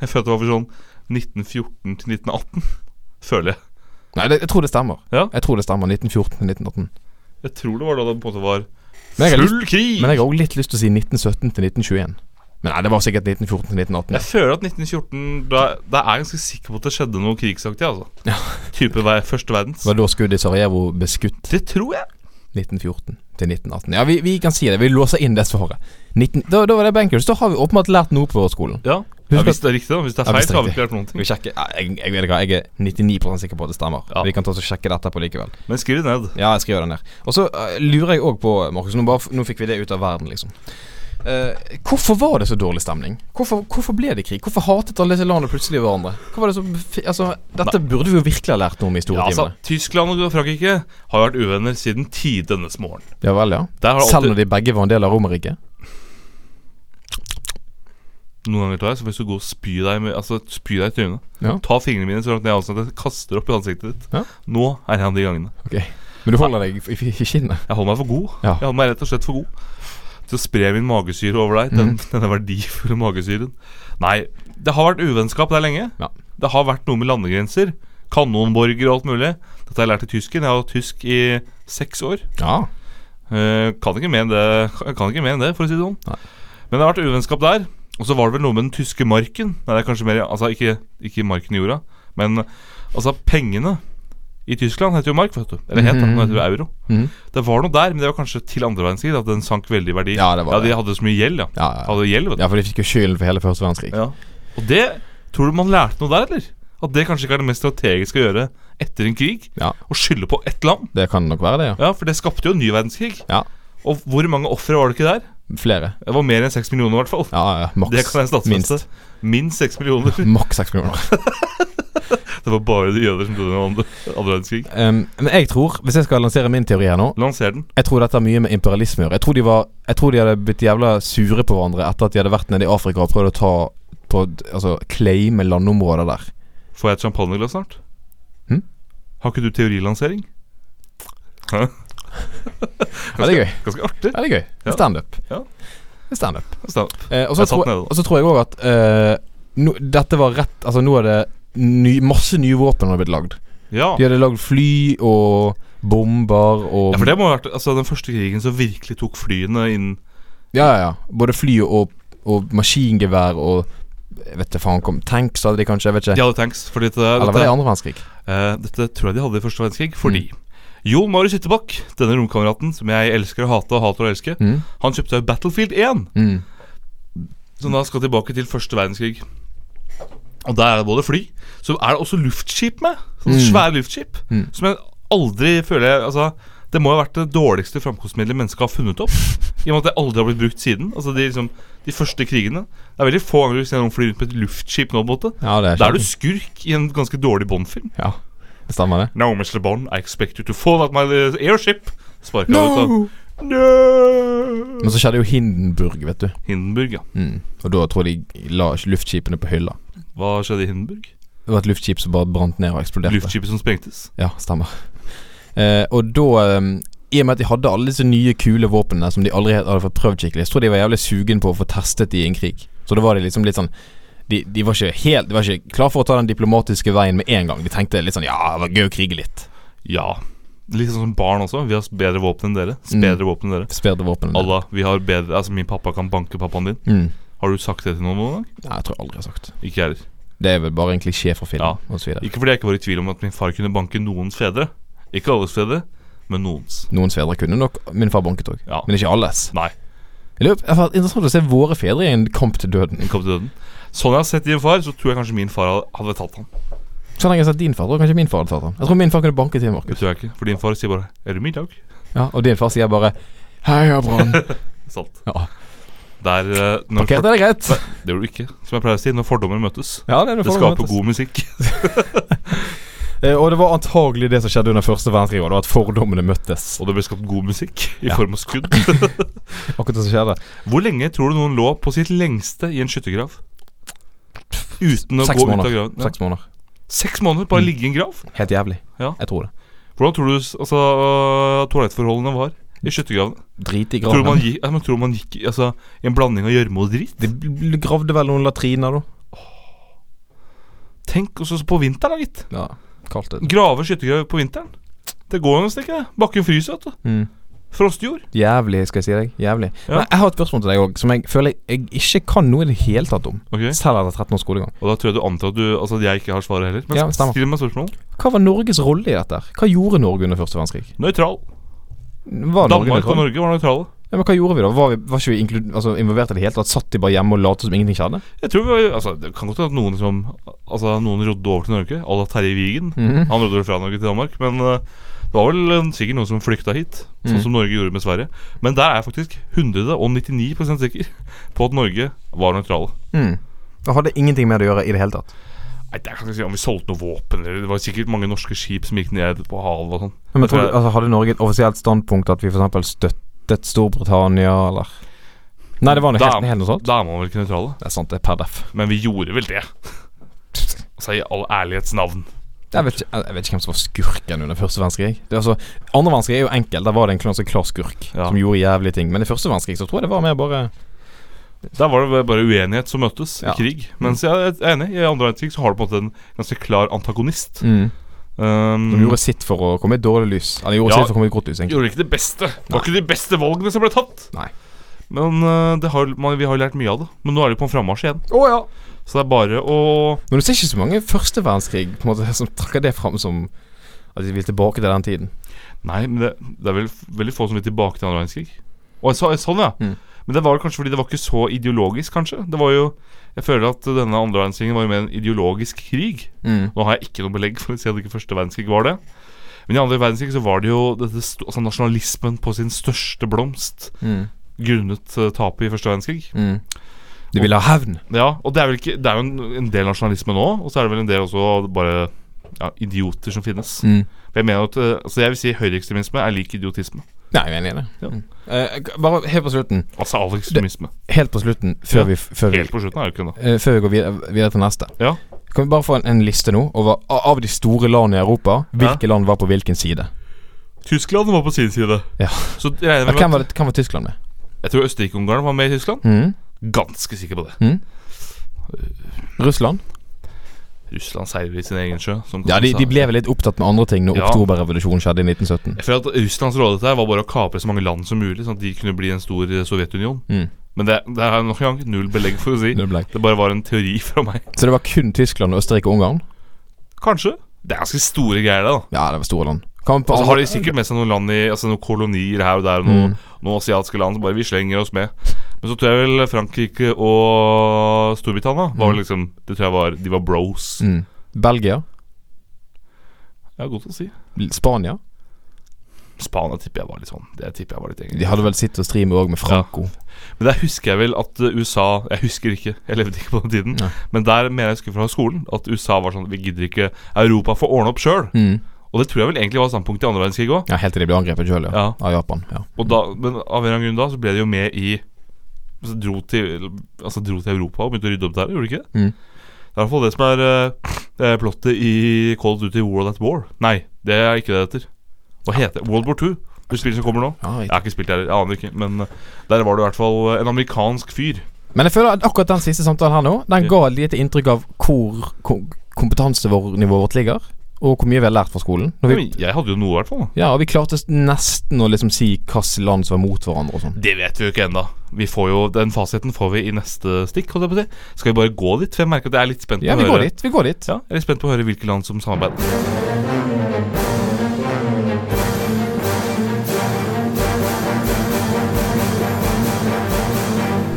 [SPEAKER 3] Jeg føler at det var for sånn 1914 til 1918. Føler jeg.
[SPEAKER 2] Nei, det, jeg tror det stemmer.
[SPEAKER 3] Ja.
[SPEAKER 2] Jeg tror det stemmer. 1914 1918.
[SPEAKER 3] Jeg tror det var da det på en måte var
[SPEAKER 2] Men jeg har lyst-
[SPEAKER 3] Full krig!
[SPEAKER 2] men jeg har òg litt lyst til å si 1917 til 1921. Men nei, det var sikkert 1914 til 1918.
[SPEAKER 3] Jeg føler at 1914 Da, da er jeg ganske sikker på at det skjedde noe krigsaktig. altså Type vei, første verdens.
[SPEAKER 2] Det var da skuddet i Sarajevo ble skutt.
[SPEAKER 3] Det tror jeg.
[SPEAKER 2] 1914 til 1918. Ja, vi, vi kan si det. Vi låser inn det svaret. 19, da, da var det bankers. Da har vi åpenbart lært noe på skolen.
[SPEAKER 3] Ja,
[SPEAKER 2] Husk
[SPEAKER 3] Hvis det er riktig, da. Hvis det er
[SPEAKER 2] Ja,
[SPEAKER 3] feil,
[SPEAKER 2] hvis det
[SPEAKER 3] så
[SPEAKER 2] er
[SPEAKER 3] har vi
[SPEAKER 2] riktig.
[SPEAKER 3] ikke lært noen
[SPEAKER 2] Skal vi
[SPEAKER 3] ting.
[SPEAKER 2] sjekke? Ja, Jeg, jeg, vet ikke hva, jeg er 99 sikker på at det stemmer.
[SPEAKER 3] Ja.
[SPEAKER 2] Vi kan ta oss og sjekke det etterpå likevel.
[SPEAKER 3] Men skriv det ned.
[SPEAKER 2] Ja, jeg skriver den ned. Og så eh, lurer jeg òg på, Markus nå, bare, f- nå fikk vi det ut av verden, liksom. Eh, hvorfor var det så dårlig stemning? Hvorfor, hvorfor ble det krig? Hvorfor hatet alle disse landene plutselig hverandre? Hva var det som, f- altså, dette burde vi jo virkelig ha lært noe om i
[SPEAKER 3] Ja, altså,
[SPEAKER 2] historietimene.
[SPEAKER 3] Tyskland og Frankrike har vært uvenner siden tidenes morgen.
[SPEAKER 2] Ja, vel, ja.
[SPEAKER 3] Der har det
[SPEAKER 2] Selv
[SPEAKER 3] alltid,
[SPEAKER 2] når de begge var en del av Romerriket.
[SPEAKER 3] Noen ganger tar jeg så får jeg lyst til å gå og spy deg, med, altså, spy deg i trynet.
[SPEAKER 2] Ja.
[SPEAKER 3] Ta fingrene mine så langt ned i halsen at jeg kaster opp i ansiktet ditt.
[SPEAKER 2] Ja.
[SPEAKER 3] Nå er jeg han de gangene.
[SPEAKER 2] Ok Men du holder deg i, i, i kinnet?
[SPEAKER 3] Jeg holder meg for god.
[SPEAKER 2] Ja.
[SPEAKER 3] Jeg holder meg rett og slett for god til å spre min magesyre over deg. [laughs] Den,
[SPEAKER 2] Mhm.
[SPEAKER 3] Denne verdifulle magesyren. Nei, det har vært uvennskap der lenge.
[SPEAKER 2] Ja.
[SPEAKER 3] Det har vært noe med landegrenser. Kanonborger og alt mulig. Dette har jeg lært i tysken. Jeg har hatt tysk i seks år.
[SPEAKER 2] Ja.
[SPEAKER 3] Eh, kan ikke mer enn det, kan kan ikke mer enn det for å si det sånn.
[SPEAKER 2] Nei.
[SPEAKER 3] Men det har vært uvennskap der. Og så var det vel noe med den tyske marken. Nei, det er kanskje mer Altså ikke, ikke marken i jorda, men altså pengene i Tyskland heter jo mark, vet du. Eller het, da. Nå heter det euro.
[SPEAKER 2] Mhm.
[SPEAKER 3] Det var noe der, men det var kanskje til andre verdenskrig at den sank veldig i verdi.
[SPEAKER 2] Ja, det var
[SPEAKER 3] de
[SPEAKER 2] det.
[SPEAKER 3] hadde så mye gjeld, ja.
[SPEAKER 2] Ja, ja.
[SPEAKER 3] Hadde gjeld, vet du.
[SPEAKER 2] ja, for de fikk jo skylden for hele første verdenskrig.
[SPEAKER 3] Ja. Og det Tror du man lærte noe der, eller? At det kanskje ikke er det mest strategiske å gjøre etter en krig?
[SPEAKER 2] Ja.
[SPEAKER 3] Å skylde på ett land?
[SPEAKER 2] Det kan nok være det, ja.
[SPEAKER 3] Ja, for det skapte jo en ny verdenskrig.
[SPEAKER 2] Ja.
[SPEAKER 3] Og hvor mange ofre var det ikke der?
[SPEAKER 2] Flere.
[SPEAKER 3] Det var mer enn 6 millioner i hvert fall
[SPEAKER 2] Ja, ja, maks.
[SPEAKER 3] Det kan jeg statsfeste
[SPEAKER 2] Minst.
[SPEAKER 3] Minst 6 millioner [laughs]
[SPEAKER 2] Maks seks millioner.
[SPEAKER 3] Det var bare de jøder som døde under andre, andre verdenskrig
[SPEAKER 2] Um, men jeg tror, hvis jeg skal lansere min teori her nå
[SPEAKER 3] Lanser den
[SPEAKER 2] Jeg tror dette har mye med imperialisme å gjøre. Jeg tror de, var, jeg tror de hadde blitt jævla sure på hverandre etter at de hadde vært nede i Afrika og prøvd å ta på, Altså claime landområder der.
[SPEAKER 3] Får jeg et champagneglass snart?
[SPEAKER 2] Hm?
[SPEAKER 3] Har ikke du teorilansering? Hæ?
[SPEAKER 2] Ja, det er gøy.
[SPEAKER 3] Ganske artig
[SPEAKER 2] Ja, det er gøy.
[SPEAKER 3] Ja.
[SPEAKER 2] Standup.
[SPEAKER 3] Ja.
[SPEAKER 2] Standup.
[SPEAKER 3] Stem.
[SPEAKER 2] Eh, og så
[SPEAKER 3] Jeg satt
[SPEAKER 2] tror
[SPEAKER 3] ned
[SPEAKER 2] jeg-
[SPEAKER 3] da.
[SPEAKER 2] og så tror jeg òg at eh, nå- dette var rett Altså, nå er det ny, masse nye våpen som har blitt lagd.
[SPEAKER 3] Ja
[SPEAKER 2] De hadde lagd fly og bomber og
[SPEAKER 3] ja, for det må ha vært altså, den første krigen som virkelig tok flyene inn
[SPEAKER 2] Ja, ja, ja. Både fly og, og maskingevær og jeg vet ikke faen kom Tanks hadde de kanskje, jeg vet ikke.
[SPEAKER 3] De hadde tanks Fordi dette,
[SPEAKER 2] Eller var det
[SPEAKER 3] dette,
[SPEAKER 2] andre verdenskrig?
[SPEAKER 3] eh, dette tror jeg de hadde i første verdenskrig
[SPEAKER 2] Mm.
[SPEAKER 3] Fordi Jon Marius Ytterbakk Denne romkameraten som jeg elsker å hate og hater å elske
[SPEAKER 2] Mm.
[SPEAKER 3] Han kjøpte jo Battlefield 1
[SPEAKER 2] Mm.
[SPEAKER 3] Som da skal tilbake til første verdenskrig. Og der er det både fly, så er det også luftskip med. Sånne
[SPEAKER 2] Mm.
[SPEAKER 3] Svære luftskip.
[SPEAKER 2] Mm.
[SPEAKER 3] Som jeg aldri føler jeg, altså, Det må ha vært det dårligste framkomstmiddelet mennesket har funnet opp. I og med at det aldri har blitt brukt siden. Altså De, liksom, de første krigene. Det er veldig få ganger du ser noen fly rundt med et luftskip nå. på en måte
[SPEAKER 2] Ja, det er
[SPEAKER 3] Da er du
[SPEAKER 2] kjent.
[SPEAKER 3] skurk i en ganske dårlig Bond-film.
[SPEAKER 2] Ja, det stemmer det.
[SPEAKER 3] No, Mr. Bond, I expect you to fall out my uh, airship. Sparka ut av
[SPEAKER 2] Men så skjedde jo Hindenburg, vet du.
[SPEAKER 3] Hindenburg, ja.
[SPEAKER 2] Mm. Og da tror jeg de la luftskipene på hylla.
[SPEAKER 3] Hva skjedde i Hindenburg?
[SPEAKER 2] Det var et luftskip som bare brant ned og eksploderte.
[SPEAKER 3] Luftskipet som sprengtes?
[SPEAKER 2] Ja, stemmer. Eh, og da eh, I og med at de hadde alle disse nye, kule våpnene som de aldri helt hadde fått prøvd skikkelig, så tror jeg de var jævlig sugen på å få testet de i en krig. Så da var de liksom litt sånn de, de var ikke helt De var ikke klar for å ta den diplomatiske veien med en gang. De tenkte litt sånn Ja, det var gøy å krige litt.
[SPEAKER 3] Ja. Litt sånn som barn også. Vi har bedre våpen enn dere. Bedre våpen enn dere.
[SPEAKER 2] Spedre våpnene.
[SPEAKER 3] Allah, vi har bedre Altså, min pappa kan banke pappaen din.
[SPEAKER 2] Mm.
[SPEAKER 3] Har du sagt det til noen noen gang?
[SPEAKER 2] Nei, jeg tror jeg aldri jeg har sagt.
[SPEAKER 3] Ikke jeg heller.
[SPEAKER 2] Det er vel bare en klisjé fra film
[SPEAKER 3] Ja.
[SPEAKER 2] og så videre.
[SPEAKER 3] Ikke fordi jeg ikke var i tvil om at min far kunne banke noens fedre. Ikke alles fedre, men noens.
[SPEAKER 2] Noen fedre kunne nok Min far banket òg,
[SPEAKER 3] Ja.
[SPEAKER 2] men ikke alles.
[SPEAKER 3] Nei.
[SPEAKER 2] Det er jo- det er interessant å se våre fedre i en kamp til døden.
[SPEAKER 3] Den kom til døden. Sånn jeg har sett din far, så tror jeg kanskje min far hadde- hadde tatt han.
[SPEAKER 2] Sånn har jeg sett din far. Tror jeg kanskje min far hadde tatt ham. Jeg tror min far kunne banket til
[SPEAKER 3] Det
[SPEAKER 2] Markus.
[SPEAKER 3] tror jeg ikke. For din far sier bare 'Er det middag?'
[SPEAKER 2] Ja, og din far sier bare Heia
[SPEAKER 3] [laughs]
[SPEAKER 2] Brann.
[SPEAKER 3] Sant.
[SPEAKER 2] Ja.
[SPEAKER 3] Der eh, når
[SPEAKER 2] Parkert
[SPEAKER 3] for,
[SPEAKER 2] er det greit.
[SPEAKER 3] Det gjør du ikke. Som jeg pleier å si, når fordommer møtes.
[SPEAKER 2] Ja, det, er
[SPEAKER 3] Det skaper god musikk. [laughs]
[SPEAKER 2] Eh, Og det var antagelig det som skjedde under første verdenskrig. og Det var at fordommene møttes.
[SPEAKER 3] Og det ble skapt god musikk i
[SPEAKER 2] Ja.
[SPEAKER 3] form av skudd. [laughs]
[SPEAKER 2] Akkurat det som skjedde.
[SPEAKER 3] Hvor lenge tror du noen lå på sitt lengste i en skyttergrav? Uten å
[SPEAKER 2] Seks
[SPEAKER 3] gå ut av
[SPEAKER 2] måneder.
[SPEAKER 3] graven? Ja.
[SPEAKER 2] Seks Mm. måneder.
[SPEAKER 3] Seks måneder? Bare ligge i en grav?
[SPEAKER 2] Helt jævlig.
[SPEAKER 3] Ja.
[SPEAKER 2] Jeg tror det.
[SPEAKER 3] Hvordan tror du s- altså, øh, toalettforholdene var i skyttergravene?
[SPEAKER 2] Drit i
[SPEAKER 3] Tror du man
[SPEAKER 2] graven.
[SPEAKER 3] gikk, ja, men tror du man gikk i- altså, i en blanding av gjørme og drit?
[SPEAKER 2] De bl- gravde vel noen latriner, da.
[SPEAKER 3] Tenk også på vinteren, da, gitt.
[SPEAKER 2] Ja, kaldt ute.
[SPEAKER 3] Grave skyttergrav på vinteren. Det går jo nesten ikke, det. Bakken fryser, vet du.
[SPEAKER 2] Mm.
[SPEAKER 3] Frostjord.
[SPEAKER 2] Jævlig, skal jeg si deg. Jævlig.
[SPEAKER 3] Ja.
[SPEAKER 2] Men jeg har et spørsmål til deg òg, som jeg føler jeg ikke kan noe i det hele tatt om.
[SPEAKER 3] Ok,
[SPEAKER 2] Selv etter 13 års skolegang.
[SPEAKER 3] Og da tror jeg du antar at du Altså at jeg ikke har svaret heller. Men
[SPEAKER 2] Ja, stemmer.
[SPEAKER 3] still meg spørsmål.
[SPEAKER 2] Hva var Norges rolle i dette? her? Hva gjorde Norge under første verdenskrig?
[SPEAKER 3] Nøytral.
[SPEAKER 2] Var Norge
[SPEAKER 3] Danmark og
[SPEAKER 2] nøytral?
[SPEAKER 3] Norge var nøytrale.
[SPEAKER 2] Ja, men hva gjorde vi da? Var, vi, var ikke vi inklu- altså, involvert i det hele tatt? Satt de bare hjemme og lot som ingenting skjedde?
[SPEAKER 3] Jeg tror vi var, altså, Det kan godt hende at noen som Altså noen rodde over til Norge, à la Terje Vigen.
[SPEAKER 2] Mhm.
[SPEAKER 3] Han rodde vel fra Norge til Danmark, men eh, det var vel eh, sikkert noen som flykta hit. Sånn
[SPEAKER 2] Mhm.
[SPEAKER 3] som Norge gjorde med Sverige. Men der er jeg faktisk 199 sikker på at Norge var nøytrale.
[SPEAKER 2] Mm. Og hadde ingenting med det å gjøre i det hele tatt.
[SPEAKER 3] Nei, det kan jeg ikke si om vi solgte noe våpen eller Det var sikkert mange norske skip som gikk ned på havet og sånn.
[SPEAKER 2] Men
[SPEAKER 3] Jeg tror
[SPEAKER 2] tror du,
[SPEAKER 3] jeg-
[SPEAKER 2] altså, Hadde Norge et offisielt standpunkt at vi f.eks. støttet Storbritannia, eller Nei, det var noe
[SPEAKER 3] Da-
[SPEAKER 2] helt, helt noe sånt.
[SPEAKER 3] Da er man vel ikke nøytrale.
[SPEAKER 2] Det er sant, det er per def.
[SPEAKER 3] Men vi gjorde vel det. Altså i all ærlighets navn.
[SPEAKER 2] Jeg vet, ikke, jeg vet ikke hvem som var skurken under første verdenskrig. Det er altså, andre verdenskrig er jo enkel. Der var det en ganske klar skurk
[SPEAKER 3] Ja.
[SPEAKER 2] som gjorde jævlige ting. Men i første verdenskrig så tror jeg det var mer bare
[SPEAKER 3] Der var det bare uenighet som møttes
[SPEAKER 2] Ja.
[SPEAKER 3] i krig. Mens jeg er enig, i andre verdenskrig så har du på en måte en ganske klar antagonist. Um,
[SPEAKER 2] Mm. De gjorde sitt for å komme i et dårlig lys. Eller gjorde
[SPEAKER 3] Ja.
[SPEAKER 2] sitt for å komme i et godt lys, egentlig.
[SPEAKER 3] gjorde ikke det beste. Det var ikke de beste valgene som ble tatt.
[SPEAKER 2] Nei.
[SPEAKER 3] Men øh, det har, man, vi har jo lært mye av det. Men nå er det jo på en frammarsj igjen.
[SPEAKER 2] Å ja.
[SPEAKER 3] Så det er bare å
[SPEAKER 2] Men du ser ikke så mange første verdenskrig på en måte, som trekker det fram som at de vil tilbake til den tiden.
[SPEAKER 3] Nei, men det, det er vel f- veldig få som vil tilbake til andre verdenskrig. Å, så, sånn, ja.
[SPEAKER 2] Mm.
[SPEAKER 3] Men det var kanskje fordi det var ikke så ideologisk, kanskje. Det var jo Jeg føler at denne andre verdenskrigen var jo mer en ideologisk krig. Nå har jeg ikke noe belegg for å si at ikke første verdenskrig var det. Men i andre verdenskrig så var det jo dette, sto- altså nasjonalismen på sin største blomst
[SPEAKER 2] Mm.
[SPEAKER 3] grunnet eh, tapet i første verdenskrig.
[SPEAKER 2] Mm. De ville ha hevn.
[SPEAKER 3] Ja, og det er, vel ikke, det er jo en, en del nasjonalisme nå, og så er det vel en del også bare ja, idioter som finnes.
[SPEAKER 2] Mm.
[SPEAKER 3] For Jeg mener at, eh, altså jeg vil si høyreekstremisme er lik idiotisme.
[SPEAKER 2] Nei, jeg er enig i det.
[SPEAKER 3] Ja.
[SPEAKER 2] Mm. Eh, bare helt på slutten.
[SPEAKER 3] Altså all ekstremisme.
[SPEAKER 2] Helt på slutten, før
[SPEAKER 3] Ja.
[SPEAKER 2] vi, før vi
[SPEAKER 3] Helt på slutten er det ikke det.
[SPEAKER 2] Eh, før vi går videre, videre til neste.
[SPEAKER 3] Ja.
[SPEAKER 2] Kan vi bare få en, en liste nå over a- av de store landene i Europa? Hvilke land var på hvilken side?
[SPEAKER 3] Tyskland var på sin side.
[SPEAKER 2] Ja.
[SPEAKER 3] Så regner
[SPEAKER 2] Ja,
[SPEAKER 3] vi
[SPEAKER 2] hvem,
[SPEAKER 3] med
[SPEAKER 2] var
[SPEAKER 3] at,
[SPEAKER 2] det, hvem var Tyskland med?
[SPEAKER 3] Jeg tror Østerrike-Ungarn var med i Tyskland.
[SPEAKER 2] Mhm.
[SPEAKER 3] Ganske sikker på det.
[SPEAKER 2] Russland?
[SPEAKER 3] Russland seiler i sin egen sjø. som
[SPEAKER 2] Ja, de,
[SPEAKER 3] Kazan
[SPEAKER 2] de
[SPEAKER 3] sa.
[SPEAKER 2] ble vel litt opptatt med andre ting når
[SPEAKER 3] Ja.
[SPEAKER 2] oktoberrevolusjonen skjedde i 1917.
[SPEAKER 3] Jeg føler at Russlands rolle der var bare å kapre så mange land som mulig, sånn at de kunne bli en stor eh, Sovjetunion.
[SPEAKER 2] Mm.
[SPEAKER 3] Men det, det er nok en gang null belegg for å si.
[SPEAKER 2] Det ble.
[SPEAKER 3] Det bare var en teori fra meg.
[SPEAKER 2] Så det var kun Tyskland, Østerrike og Ungarn?
[SPEAKER 3] Kanskje. Det er ganske store greier, det, da.
[SPEAKER 2] Ja, det var store land. Kan vi på,
[SPEAKER 3] Og så har de Mm. sikkert med seg noen land i Altså noen kolonier her og der, og noen, noen asiatiske land som bare vi slenger oss med. Men så tror jeg vel Frankrike og Storbritannia var vel liksom Det tror jeg var De var bros.
[SPEAKER 2] mm. Belgia?
[SPEAKER 3] Ja, godt å si.
[SPEAKER 2] Spania?
[SPEAKER 3] Spania tipper jeg var litt sånn. Det tipper jeg var litt
[SPEAKER 2] De
[SPEAKER 3] egentlig.
[SPEAKER 2] hadde vel sitt og stri med òg, med Franco.
[SPEAKER 3] Men der husker jeg vel at uh, USA Jeg husker ikke, jeg levde ikke på den tiden.
[SPEAKER 2] Nei.
[SPEAKER 3] Men der mener jeg jeg husker fra skolen at USA var sånn Vi gidder ikke Europa får ordne opp sjøl.
[SPEAKER 2] Mm.
[SPEAKER 3] Og det tror jeg vel egentlig var standpunktet i andre verdenskrig òg.
[SPEAKER 2] Ja, Helt til de ble angrepet sjøl, ja.
[SPEAKER 3] Ja.
[SPEAKER 2] Av Japan. Ja.
[SPEAKER 3] Og da, men av en eller annen grunn da så ble de jo med i altså dro, til, altså dro til Europa og begynte å rydde opp der, gjorde de ikke? det?
[SPEAKER 2] Mm.
[SPEAKER 3] Det er i hvert fall det som er eh, eh, plottet i Call of Duty World at War. Nei, det er ikke det det heter. Hva heter det? World War 2? Det spillet som kommer nå?
[SPEAKER 2] Ja,
[SPEAKER 3] Jeg har ikke spilt det heller, jeg aner ikke. Men eh, der var det i hvert fall eh, en amerikansk fyr.
[SPEAKER 2] Men jeg føler at akkurat den siste samtalen her nå, den
[SPEAKER 3] Ja.
[SPEAKER 2] ga et lite inntrykk av hvor ko- kompetansenivået vårt ligger, og hvor mye vi har lært fra skolen. Når vi,
[SPEAKER 3] Men jeg hadde jo noe, i hvert fall. da.
[SPEAKER 2] ja, og vi klarte s- nesten å liksom si hvilke land som var mot hverandre og sånn.
[SPEAKER 3] Det vet vi jo ikke ennå. Vi får jo, Den fasiten får vi i neste stikk. holdt jeg på å si. Skal vi bare gå dit? For jeg merker at jeg er litt spent på
[SPEAKER 2] Ja, vi
[SPEAKER 3] å
[SPEAKER 2] går
[SPEAKER 3] høre
[SPEAKER 2] dit. Vi går dit.
[SPEAKER 3] Ja, jeg er litt spent på å høre hvilke land som samarbeider.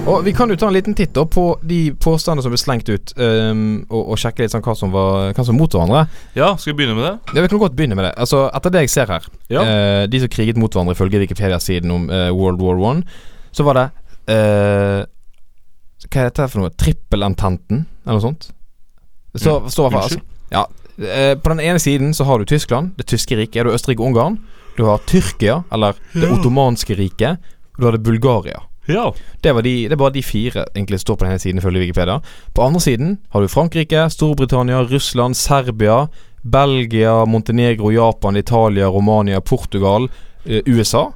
[SPEAKER 2] Og vi kan jo ta en liten titt da på de påstandene som ble slengt ut, ehm, og, og sjekke litt sånn hva som var hva som var mot hverandre.
[SPEAKER 3] Ja, skal vi begynne med det?
[SPEAKER 2] Ja, vi kan godt begynne med det. Altså, Etter det jeg ser her,
[SPEAKER 3] Ja.
[SPEAKER 2] eh, de som kriget mot hverandre ifølge Wikipedia-siden om eh, World War One, så var det eh, Hva er dette for noe? Trippelententen, eller noe sånt? Så,
[SPEAKER 3] Mm,
[SPEAKER 2] så i hvert fall,
[SPEAKER 3] unnskyld?
[SPEAKER 2] altså, ja, eh, På den ene siden så har du Tyskland, det tyske riket, du har Østerrike og Ungarn, du har Tyrkia, eller det ottomanske riket, og du har det Bulgaria.
[SPEAKER 3] Ja.
[SPEAKER 2] Det, var de, det er bare de fire egentlig står på den ene siden, ifølge Wikipedia. På andre siden har du Frankrike, Storbritannia, Russland, Serbia, Belgia, Montenegro, Japan, Italia, Romania, Portugal, eh, USA.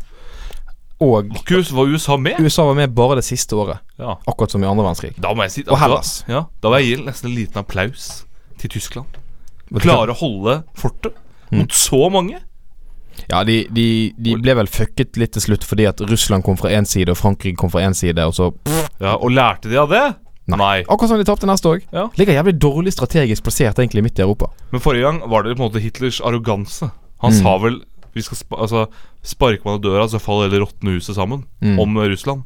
[SPEAKER 2] Og
[SPEAKER 3] Markus, var USA med?
[SPEAKER 2] USA var med bare det siste året,
[SPEAKER 3] Ja.
[SPEAKER 2] akkurat som i andre verdenskrig.
[SPEAKER 3] Da må jeg si
[SPEAKER 2] Og Hellas.
[SPEAKER 3] Da, ja, da vil jeg gi nesten en liten
[SPEAKER 2] Mm.
[SPEAKER 3] applaus til Tyskland. Klare å holde fortet mot så mange.
[SPEAKER 2] Ja, de, de, de ble vel fucket litt til slutt fordi at Russland kom fra én side, og Frankrike kom fra én side, og så
[SPEAKER 3] Ja, Og lærte de av det? Nei.
[SPEAKER 2] Akkurat som de tapte neste òg.
[SPEAKER 3] Ja.
[SPEAKER 2] Ligger jævlig dårlig strategisk plassert egentlig midt i Europa.
[SPEAKER 3] Men forrige gang var det på en måte Hitlers arroganse. Han sa
[SPEAKER 2] Mm.
[SPEAKER 3] vel vi skal spa altså, Sparker man i døra, så faller hele råtnehuset sammen.
[SPEAKER 2] Mm.
[SPEAKER 3] Om Russland.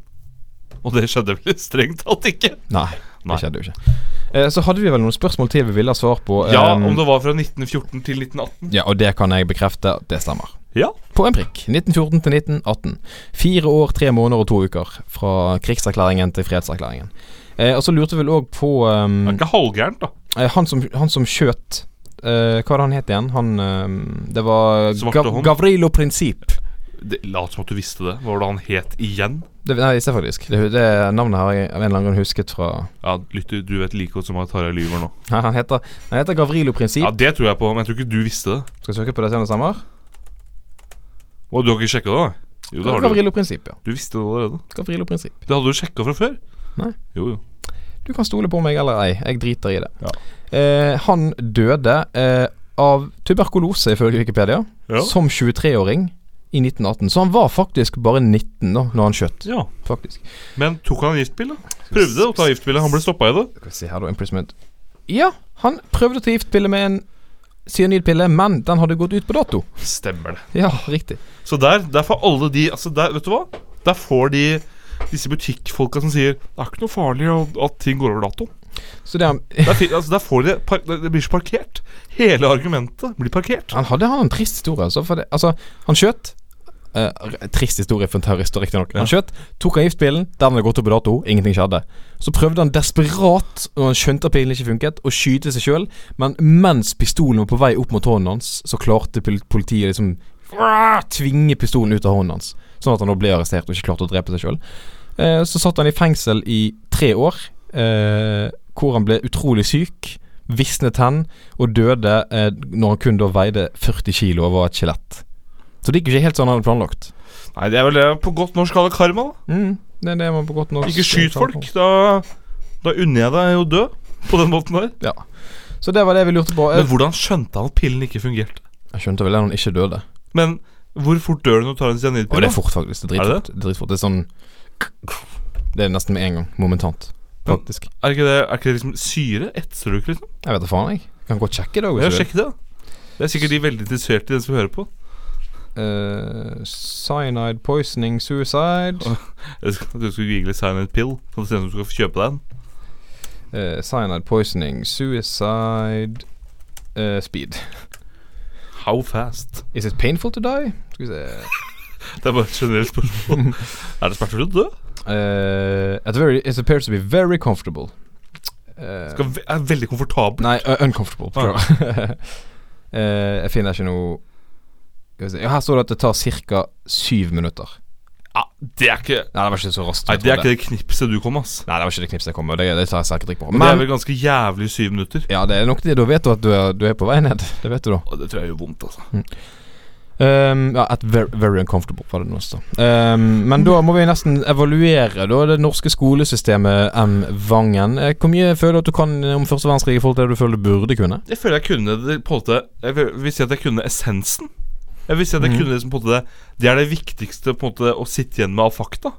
[SPEAKER 3] Og det skjedde vel [laughs] strengt tatt ikke.
[SPEAKER 2] Nei,
[SPEAKER 3] Nei.
[SPEAKER 2] det skjedde jo ikke. Eh, så hadde vi vel noen spørsmål til vi ville ha svar på.
[SPEAKER 3] Ja,
[SPEAKER 2] eh,
[SPEAKER 3] om det var fra 1914 til 1918.
[SPEAKER 2] ja, og det kan jeg bekrefte. Det stemmer.
[SPEAKER 3] Ja.
[SPEAKER 2] På en prikk. 1914 til 1918. Fire år, tre måneder og to uker. Fra krigserklæringen til fredserklæringen. Eh, og så lurte vi vel òg på
[SPEAKER 3] Det er
[SPEAKER 2] ehm,
[SPEAKER 3] ikke halvgærent, da.
[SPEAKER 2] eh, han, som, han som skjøt eh, Hva var det han het igjen? Han ehm, Det var
[SPEAKER 3] Svarte
[SPEAKER 2] Gav
[SPEAKER 3] hånd.
[SPEAKER 2] Gavrilo Prinsip.
[SPEAKER 3] Det, lat som at du visste det. Hva var det han het igjen?
[SPEAKER 2] Det, nei, det er faktisk. Det, det navnet har jeg av en eller annen grunn husket fra [laughs]
[SPEAKER 3] Ja, lytter, du vet like godt som at Tarjei lyver nå.
[SPEAKER 2] Nei, Han heter, han heter Gavrilo Prinsip.
[SPEAKER 3] Ja, Det tror jeg på, men jeg tror ikke du visste det.
[SPEAKER 2] Skal jeg søke på det senere samme?
[SPEAKER 3] Og du har ikke sjekka det? da? Jo, det har du.
[SPEAKER 2] Gavrilo Prinsip, ja.
[SPEAKER 3] Du visste det allerede.
[SPEAKER 2] Gavrilo Prinsip.
[SPEAKER 3] Det hadde du sjekka fra før.
[SPEAKER 2] Nei.
[SPEAKER 3] Jo, jo.
[SPEAKER 2] Du kan stole på meg eller ei, jeg driter i det.
[SPEAKER 3] Ja.
[SPEAKER 2] Eh, han døde eh, av tuberkulose, ifølge Wikipedia,
[SPEAKER 3] Ja.
[SPEAKER 2] som 23-åring i 1918. Så han var faktisk bare 19 da når han skjøt.
[SPEAKER 3] ja.
[SPEAKER 2] Faktisk.
[SPEAKER 3] Men tok han giftpille? Prøvde å ta giftpille. Han ble stoppa i det.
[SPEAKER 2] Skal vi se her, da. Imprisonment. Ja, han prøvde å ta giftpille med en cyanidpille, men den hadde gått ut på dato.
[SPEAKER 3] Stemmer det.
[SPEAKER 2] Ja, riktig.
[SPEAKER 3] Så der, der får alle de altså der, Vet du hva? Der får de disse butikkfolka som sier Det er ikke noe farlig at, at ting går over dato.
[SPEAKER 2] Så det han
[SPEAKER 3] Der, fi- altså, der får de par, Det det blir så parkert. Hele argumentet blir parkert.
[SPEAKER 2] Han hadde han en trist historie, altså. For det, altså han skjøt. Eh, r- trist historie for en terrorist, riktignok. Han skjøt, tok han giftpilen, der den hadde gått opp på dato, ingenting skjedde. Så prøvde han desperat, når han skjønte at pilen ikke funket, å skyte seg sjøl, men mens pistolen var på vei opp mot hånden hans, så klarte pol- politiet liksom tvinge pistolen ut av hånden hans, sånn at han da ble arrestert og ikke klarte å drepe seg sjøl. Eh, Så satt han i fengsel i tre år, eh, hvor han ble utrolig syk, visnet hen og døde eh, når han kun da veide 40 kilo og var et skjelett. Så det gikk jo ikke helt sånn han hadde planlagt.
[SPEAKER 3] Nei, det er vel det på godt norsk kaller karma. da
[SPEAKER 2] Mm, det er det man på godt norsk
[SPEAKER 3] Ikke skyt folk. Da, da unner jeg deg å dø på den måten der.
[SPEAKER 2] Ja. Så det var det vi lurte på. Jeg,
[SPEAKER 3] Men hvordan skjønte han at pillen ikke fungerte?
[SPEAKER 2] jeg skjønte vel det når han ikke døde.
[SPEAKER 3] Men hvor fort dør du når du tar en
[SPEAKER 2] Og det
[SPEAKER 3] cyanidpille?
[SPEAKER 2] er fort, faktisk. Det er
[SPEAKER 3] Er det
[SPEAKER 2] dritfort. Det er, dritfort. Det er sånn Det er nesten med en gang. Momentant.
[SPEAKER 3] Men-
[SPEAKER 2] Faktisk.
[SPEAKER 3] Er ikke det, er ikke det liksom syre? Etser du ikke, liksom?
[SPEAKER 2] Jeg vet da faen, jeg. Kan godt sjekke det.
[SPEAKER 3] Ja,
[SPEAKER 2] hvis du vil.
[SPEAKER 3] sjekk det. da. Det er sikkert de veldig interessert i den som hører på.
[SPEAKER 2] Eh, cyanide poisoning suicide.
[SPEAKER 3] Jeg skal, du skal google cyanid pill. Kan du se om du skal kjøpe deg en?
[SPEAKER 2] Eh, cyanide poisoning, suicide eh, Speed.
[SPEAKER 3] How fast?
[SPEAKER 2] Is it painful to die? Skal vi se
[SPEAKER 3] Det er bare et generelt [laughs] spørsmål. er det smertefullt å dø?
[SPEAKER 2] Eh, at very, It appears to be very comfortable. Eh,
[SPEAKER 3] Skal ve- Er veldig komfortabel.
[SPEAKER 2] nei, uh, uncomfortable.
[SPEAKER 3] Ah.
[SPEAKER 2] beklager. [laughs] Eh, jeg finner ikke noe Skal vi se. Ja, Her står det at det tar ca. syv minutter.
[SPEAKER 3] Ja, det er ikke
[SPEAKER 2] Nei, det var ikke så raskt. som
[SPEAKER 3] Nei,
[SPEAKER 2] jeg
[SPEAKER 3] det er
[SPEAKER 2] trodde.
[SPEAKER 3] ikke det knipset du kom, ass.
[SPEAKER 2] Nei, det var ikke det knipset jeg kom med. Det, det tar jeg selvkritikk på.
[SPEAKER 3] det er
[SPEAKER 2] Men
[SPEAKER 3] vel ganske jævlig syv minutter.
[SPEAKER 2] ja, det er nok det. Da vet du at du er, du er på vei ned. Det vet du da.
[SPEAKER 3] Å, det tror jeg gjør vondt, altså.
[SPEAKER 2] Ehm, ja, at very, very uncomfortable var det nå også. Ehm, men da må vi nesten evaluere da, det norske skolesystemet, M. Vangen. Eh, Hvor mye føler du at du kan om første verdenskrig i forhold til det du føler du burde kunne?
[SPEAKER 3] Jeg føler jeg kunne det på en måte Jeg vil vil si at jeg kunne essensen. Jeg vil si
[SPEAKER 2] Mhm.
[SPEAKER 3] at jeg kunne liksom på en måte det, det er det viktigste på en måte å sitte igjen med av fakta.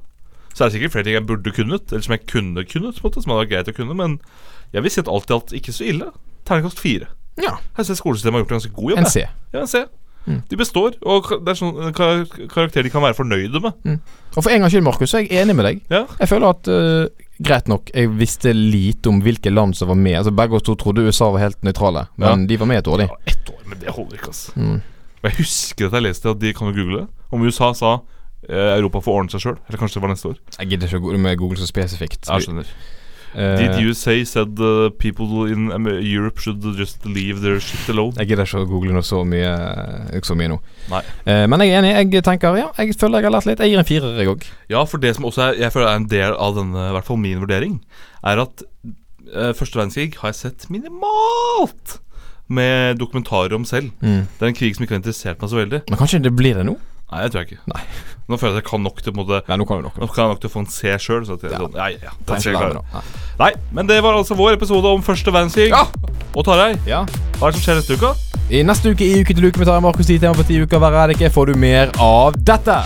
[SPEAKER 3] Så er det sikkert flere ting jeg burde kunnet, eller som jeg kunne kunnet. på en måte Som hadde vært greit å kunne Men jeg vil si at alt i alt ikke så ille. Terningkast fire.
[SPEAKER 2] Ja.
[SPEAKER 3] Jeg syns skolesystemet har gjort en ganske god jobb.
[SPEAKER 2] En
[SPEAKER 3] jeg.
[SPEAKER 2] C. Mm.
[SPEAKER 3] Ja, en C. De består, og ka- det er sånn en kar karakter de kan være fornøyde med.
[SPEAKER 2] Og for en gangs skyld, Markus, så er jeg enig med deg.
[SPEAKER 3] Ja.
[SPEAKER 2] Jeg føler at eh, Greit nok, jeg visste lite om hvilke land som var med. Altså Begge oss to trodde USA var helt nøytrale, men de var med et år, de.
[SPEAKER 3] Ja, ett år, men det holder ikke, altså.
[SPEAKER 2] Mm.
[SPEAKER 3] Og jeg husker at jeg leste at de kan jo google det. Om USA sa eh, Europa får ordne seg sjøl. Eller kanskje det var neste år.
[SPEAKER 2] Jeg gidder ikke å gå med Google så spesifikt.
[SPEAKER 3] Jeg skjønner
[SPEAKER 2] Eh,
[SPEAKER 3] Did USA said uh, people in um, Europe should just leave their shit alone?
[SPEAKER 2] Jeg gidder ikke å google noe så mye, ikke så mye nå.
[SPEAKER 3] Nei.
[SPEAKER 2] Eh, men jeg er enig. Jeg tenker, ja, jeg føler jeg har lært litt. Jeg gir en firer, jeg òg.
[SPEAKER 3] Ja, for det som også er, jeg føler er en del av denne, i hvert fall min vurdering, er at eh, første verdenskrig har jeg sett minimalt med dokumentarer om selv.
[SPEAKER 2] Mm.
[SPEAKER 3] Det er en krig som ikke har interessert meg så veldig.
[SPEAKER 2] Men kanskje det blir det nå?
[SPEAKER 3] Nei, det tror jeg ikke.
[SPEAKER 2] Nei.
[SPEAKER 3] [laughs] Nå føler jeg at jeg kan nok til på en måte
[SPEAKER 2] Nei, nå kan vi nok.
[SPEAKER 3] nå kan jeg nok til å få en C sjøl. Ja. Sånn, ja, ja, ja, den
[SPEAKER 2] Trenger ikke
[SPEAKER 3] skal jeg
[SPEAKER 2] lære det
[SPEAKER 3] klare.
[SPEAKER 2] nå. Nei.
[SPEAKER 3] Nei, men det var altså vår episode om første verdenskrig.
[SPEAKER 2] Ja!
[SPEAKER 3] Og Tarjei,
[SPEAKER 2] Ja.
[SPEAKER 3] hva er det som skjer neste uke?
[SPEAKER 2] I neste uke i Uke til uke med Tarjei Markus ti tema på ti uker hver er det ikke, får du mer av dette.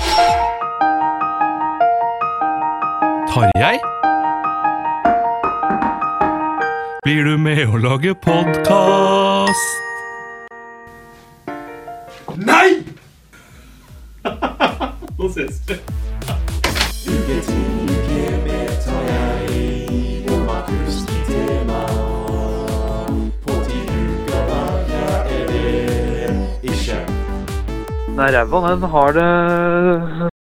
[SPEAKER 4] Tarjei?
[SPEAKER 3] Blir du med å lage podkast?
[SPEAKER 4] Nei! Nå ses vi.
[SPEAKER 1] Nei, ræva den har det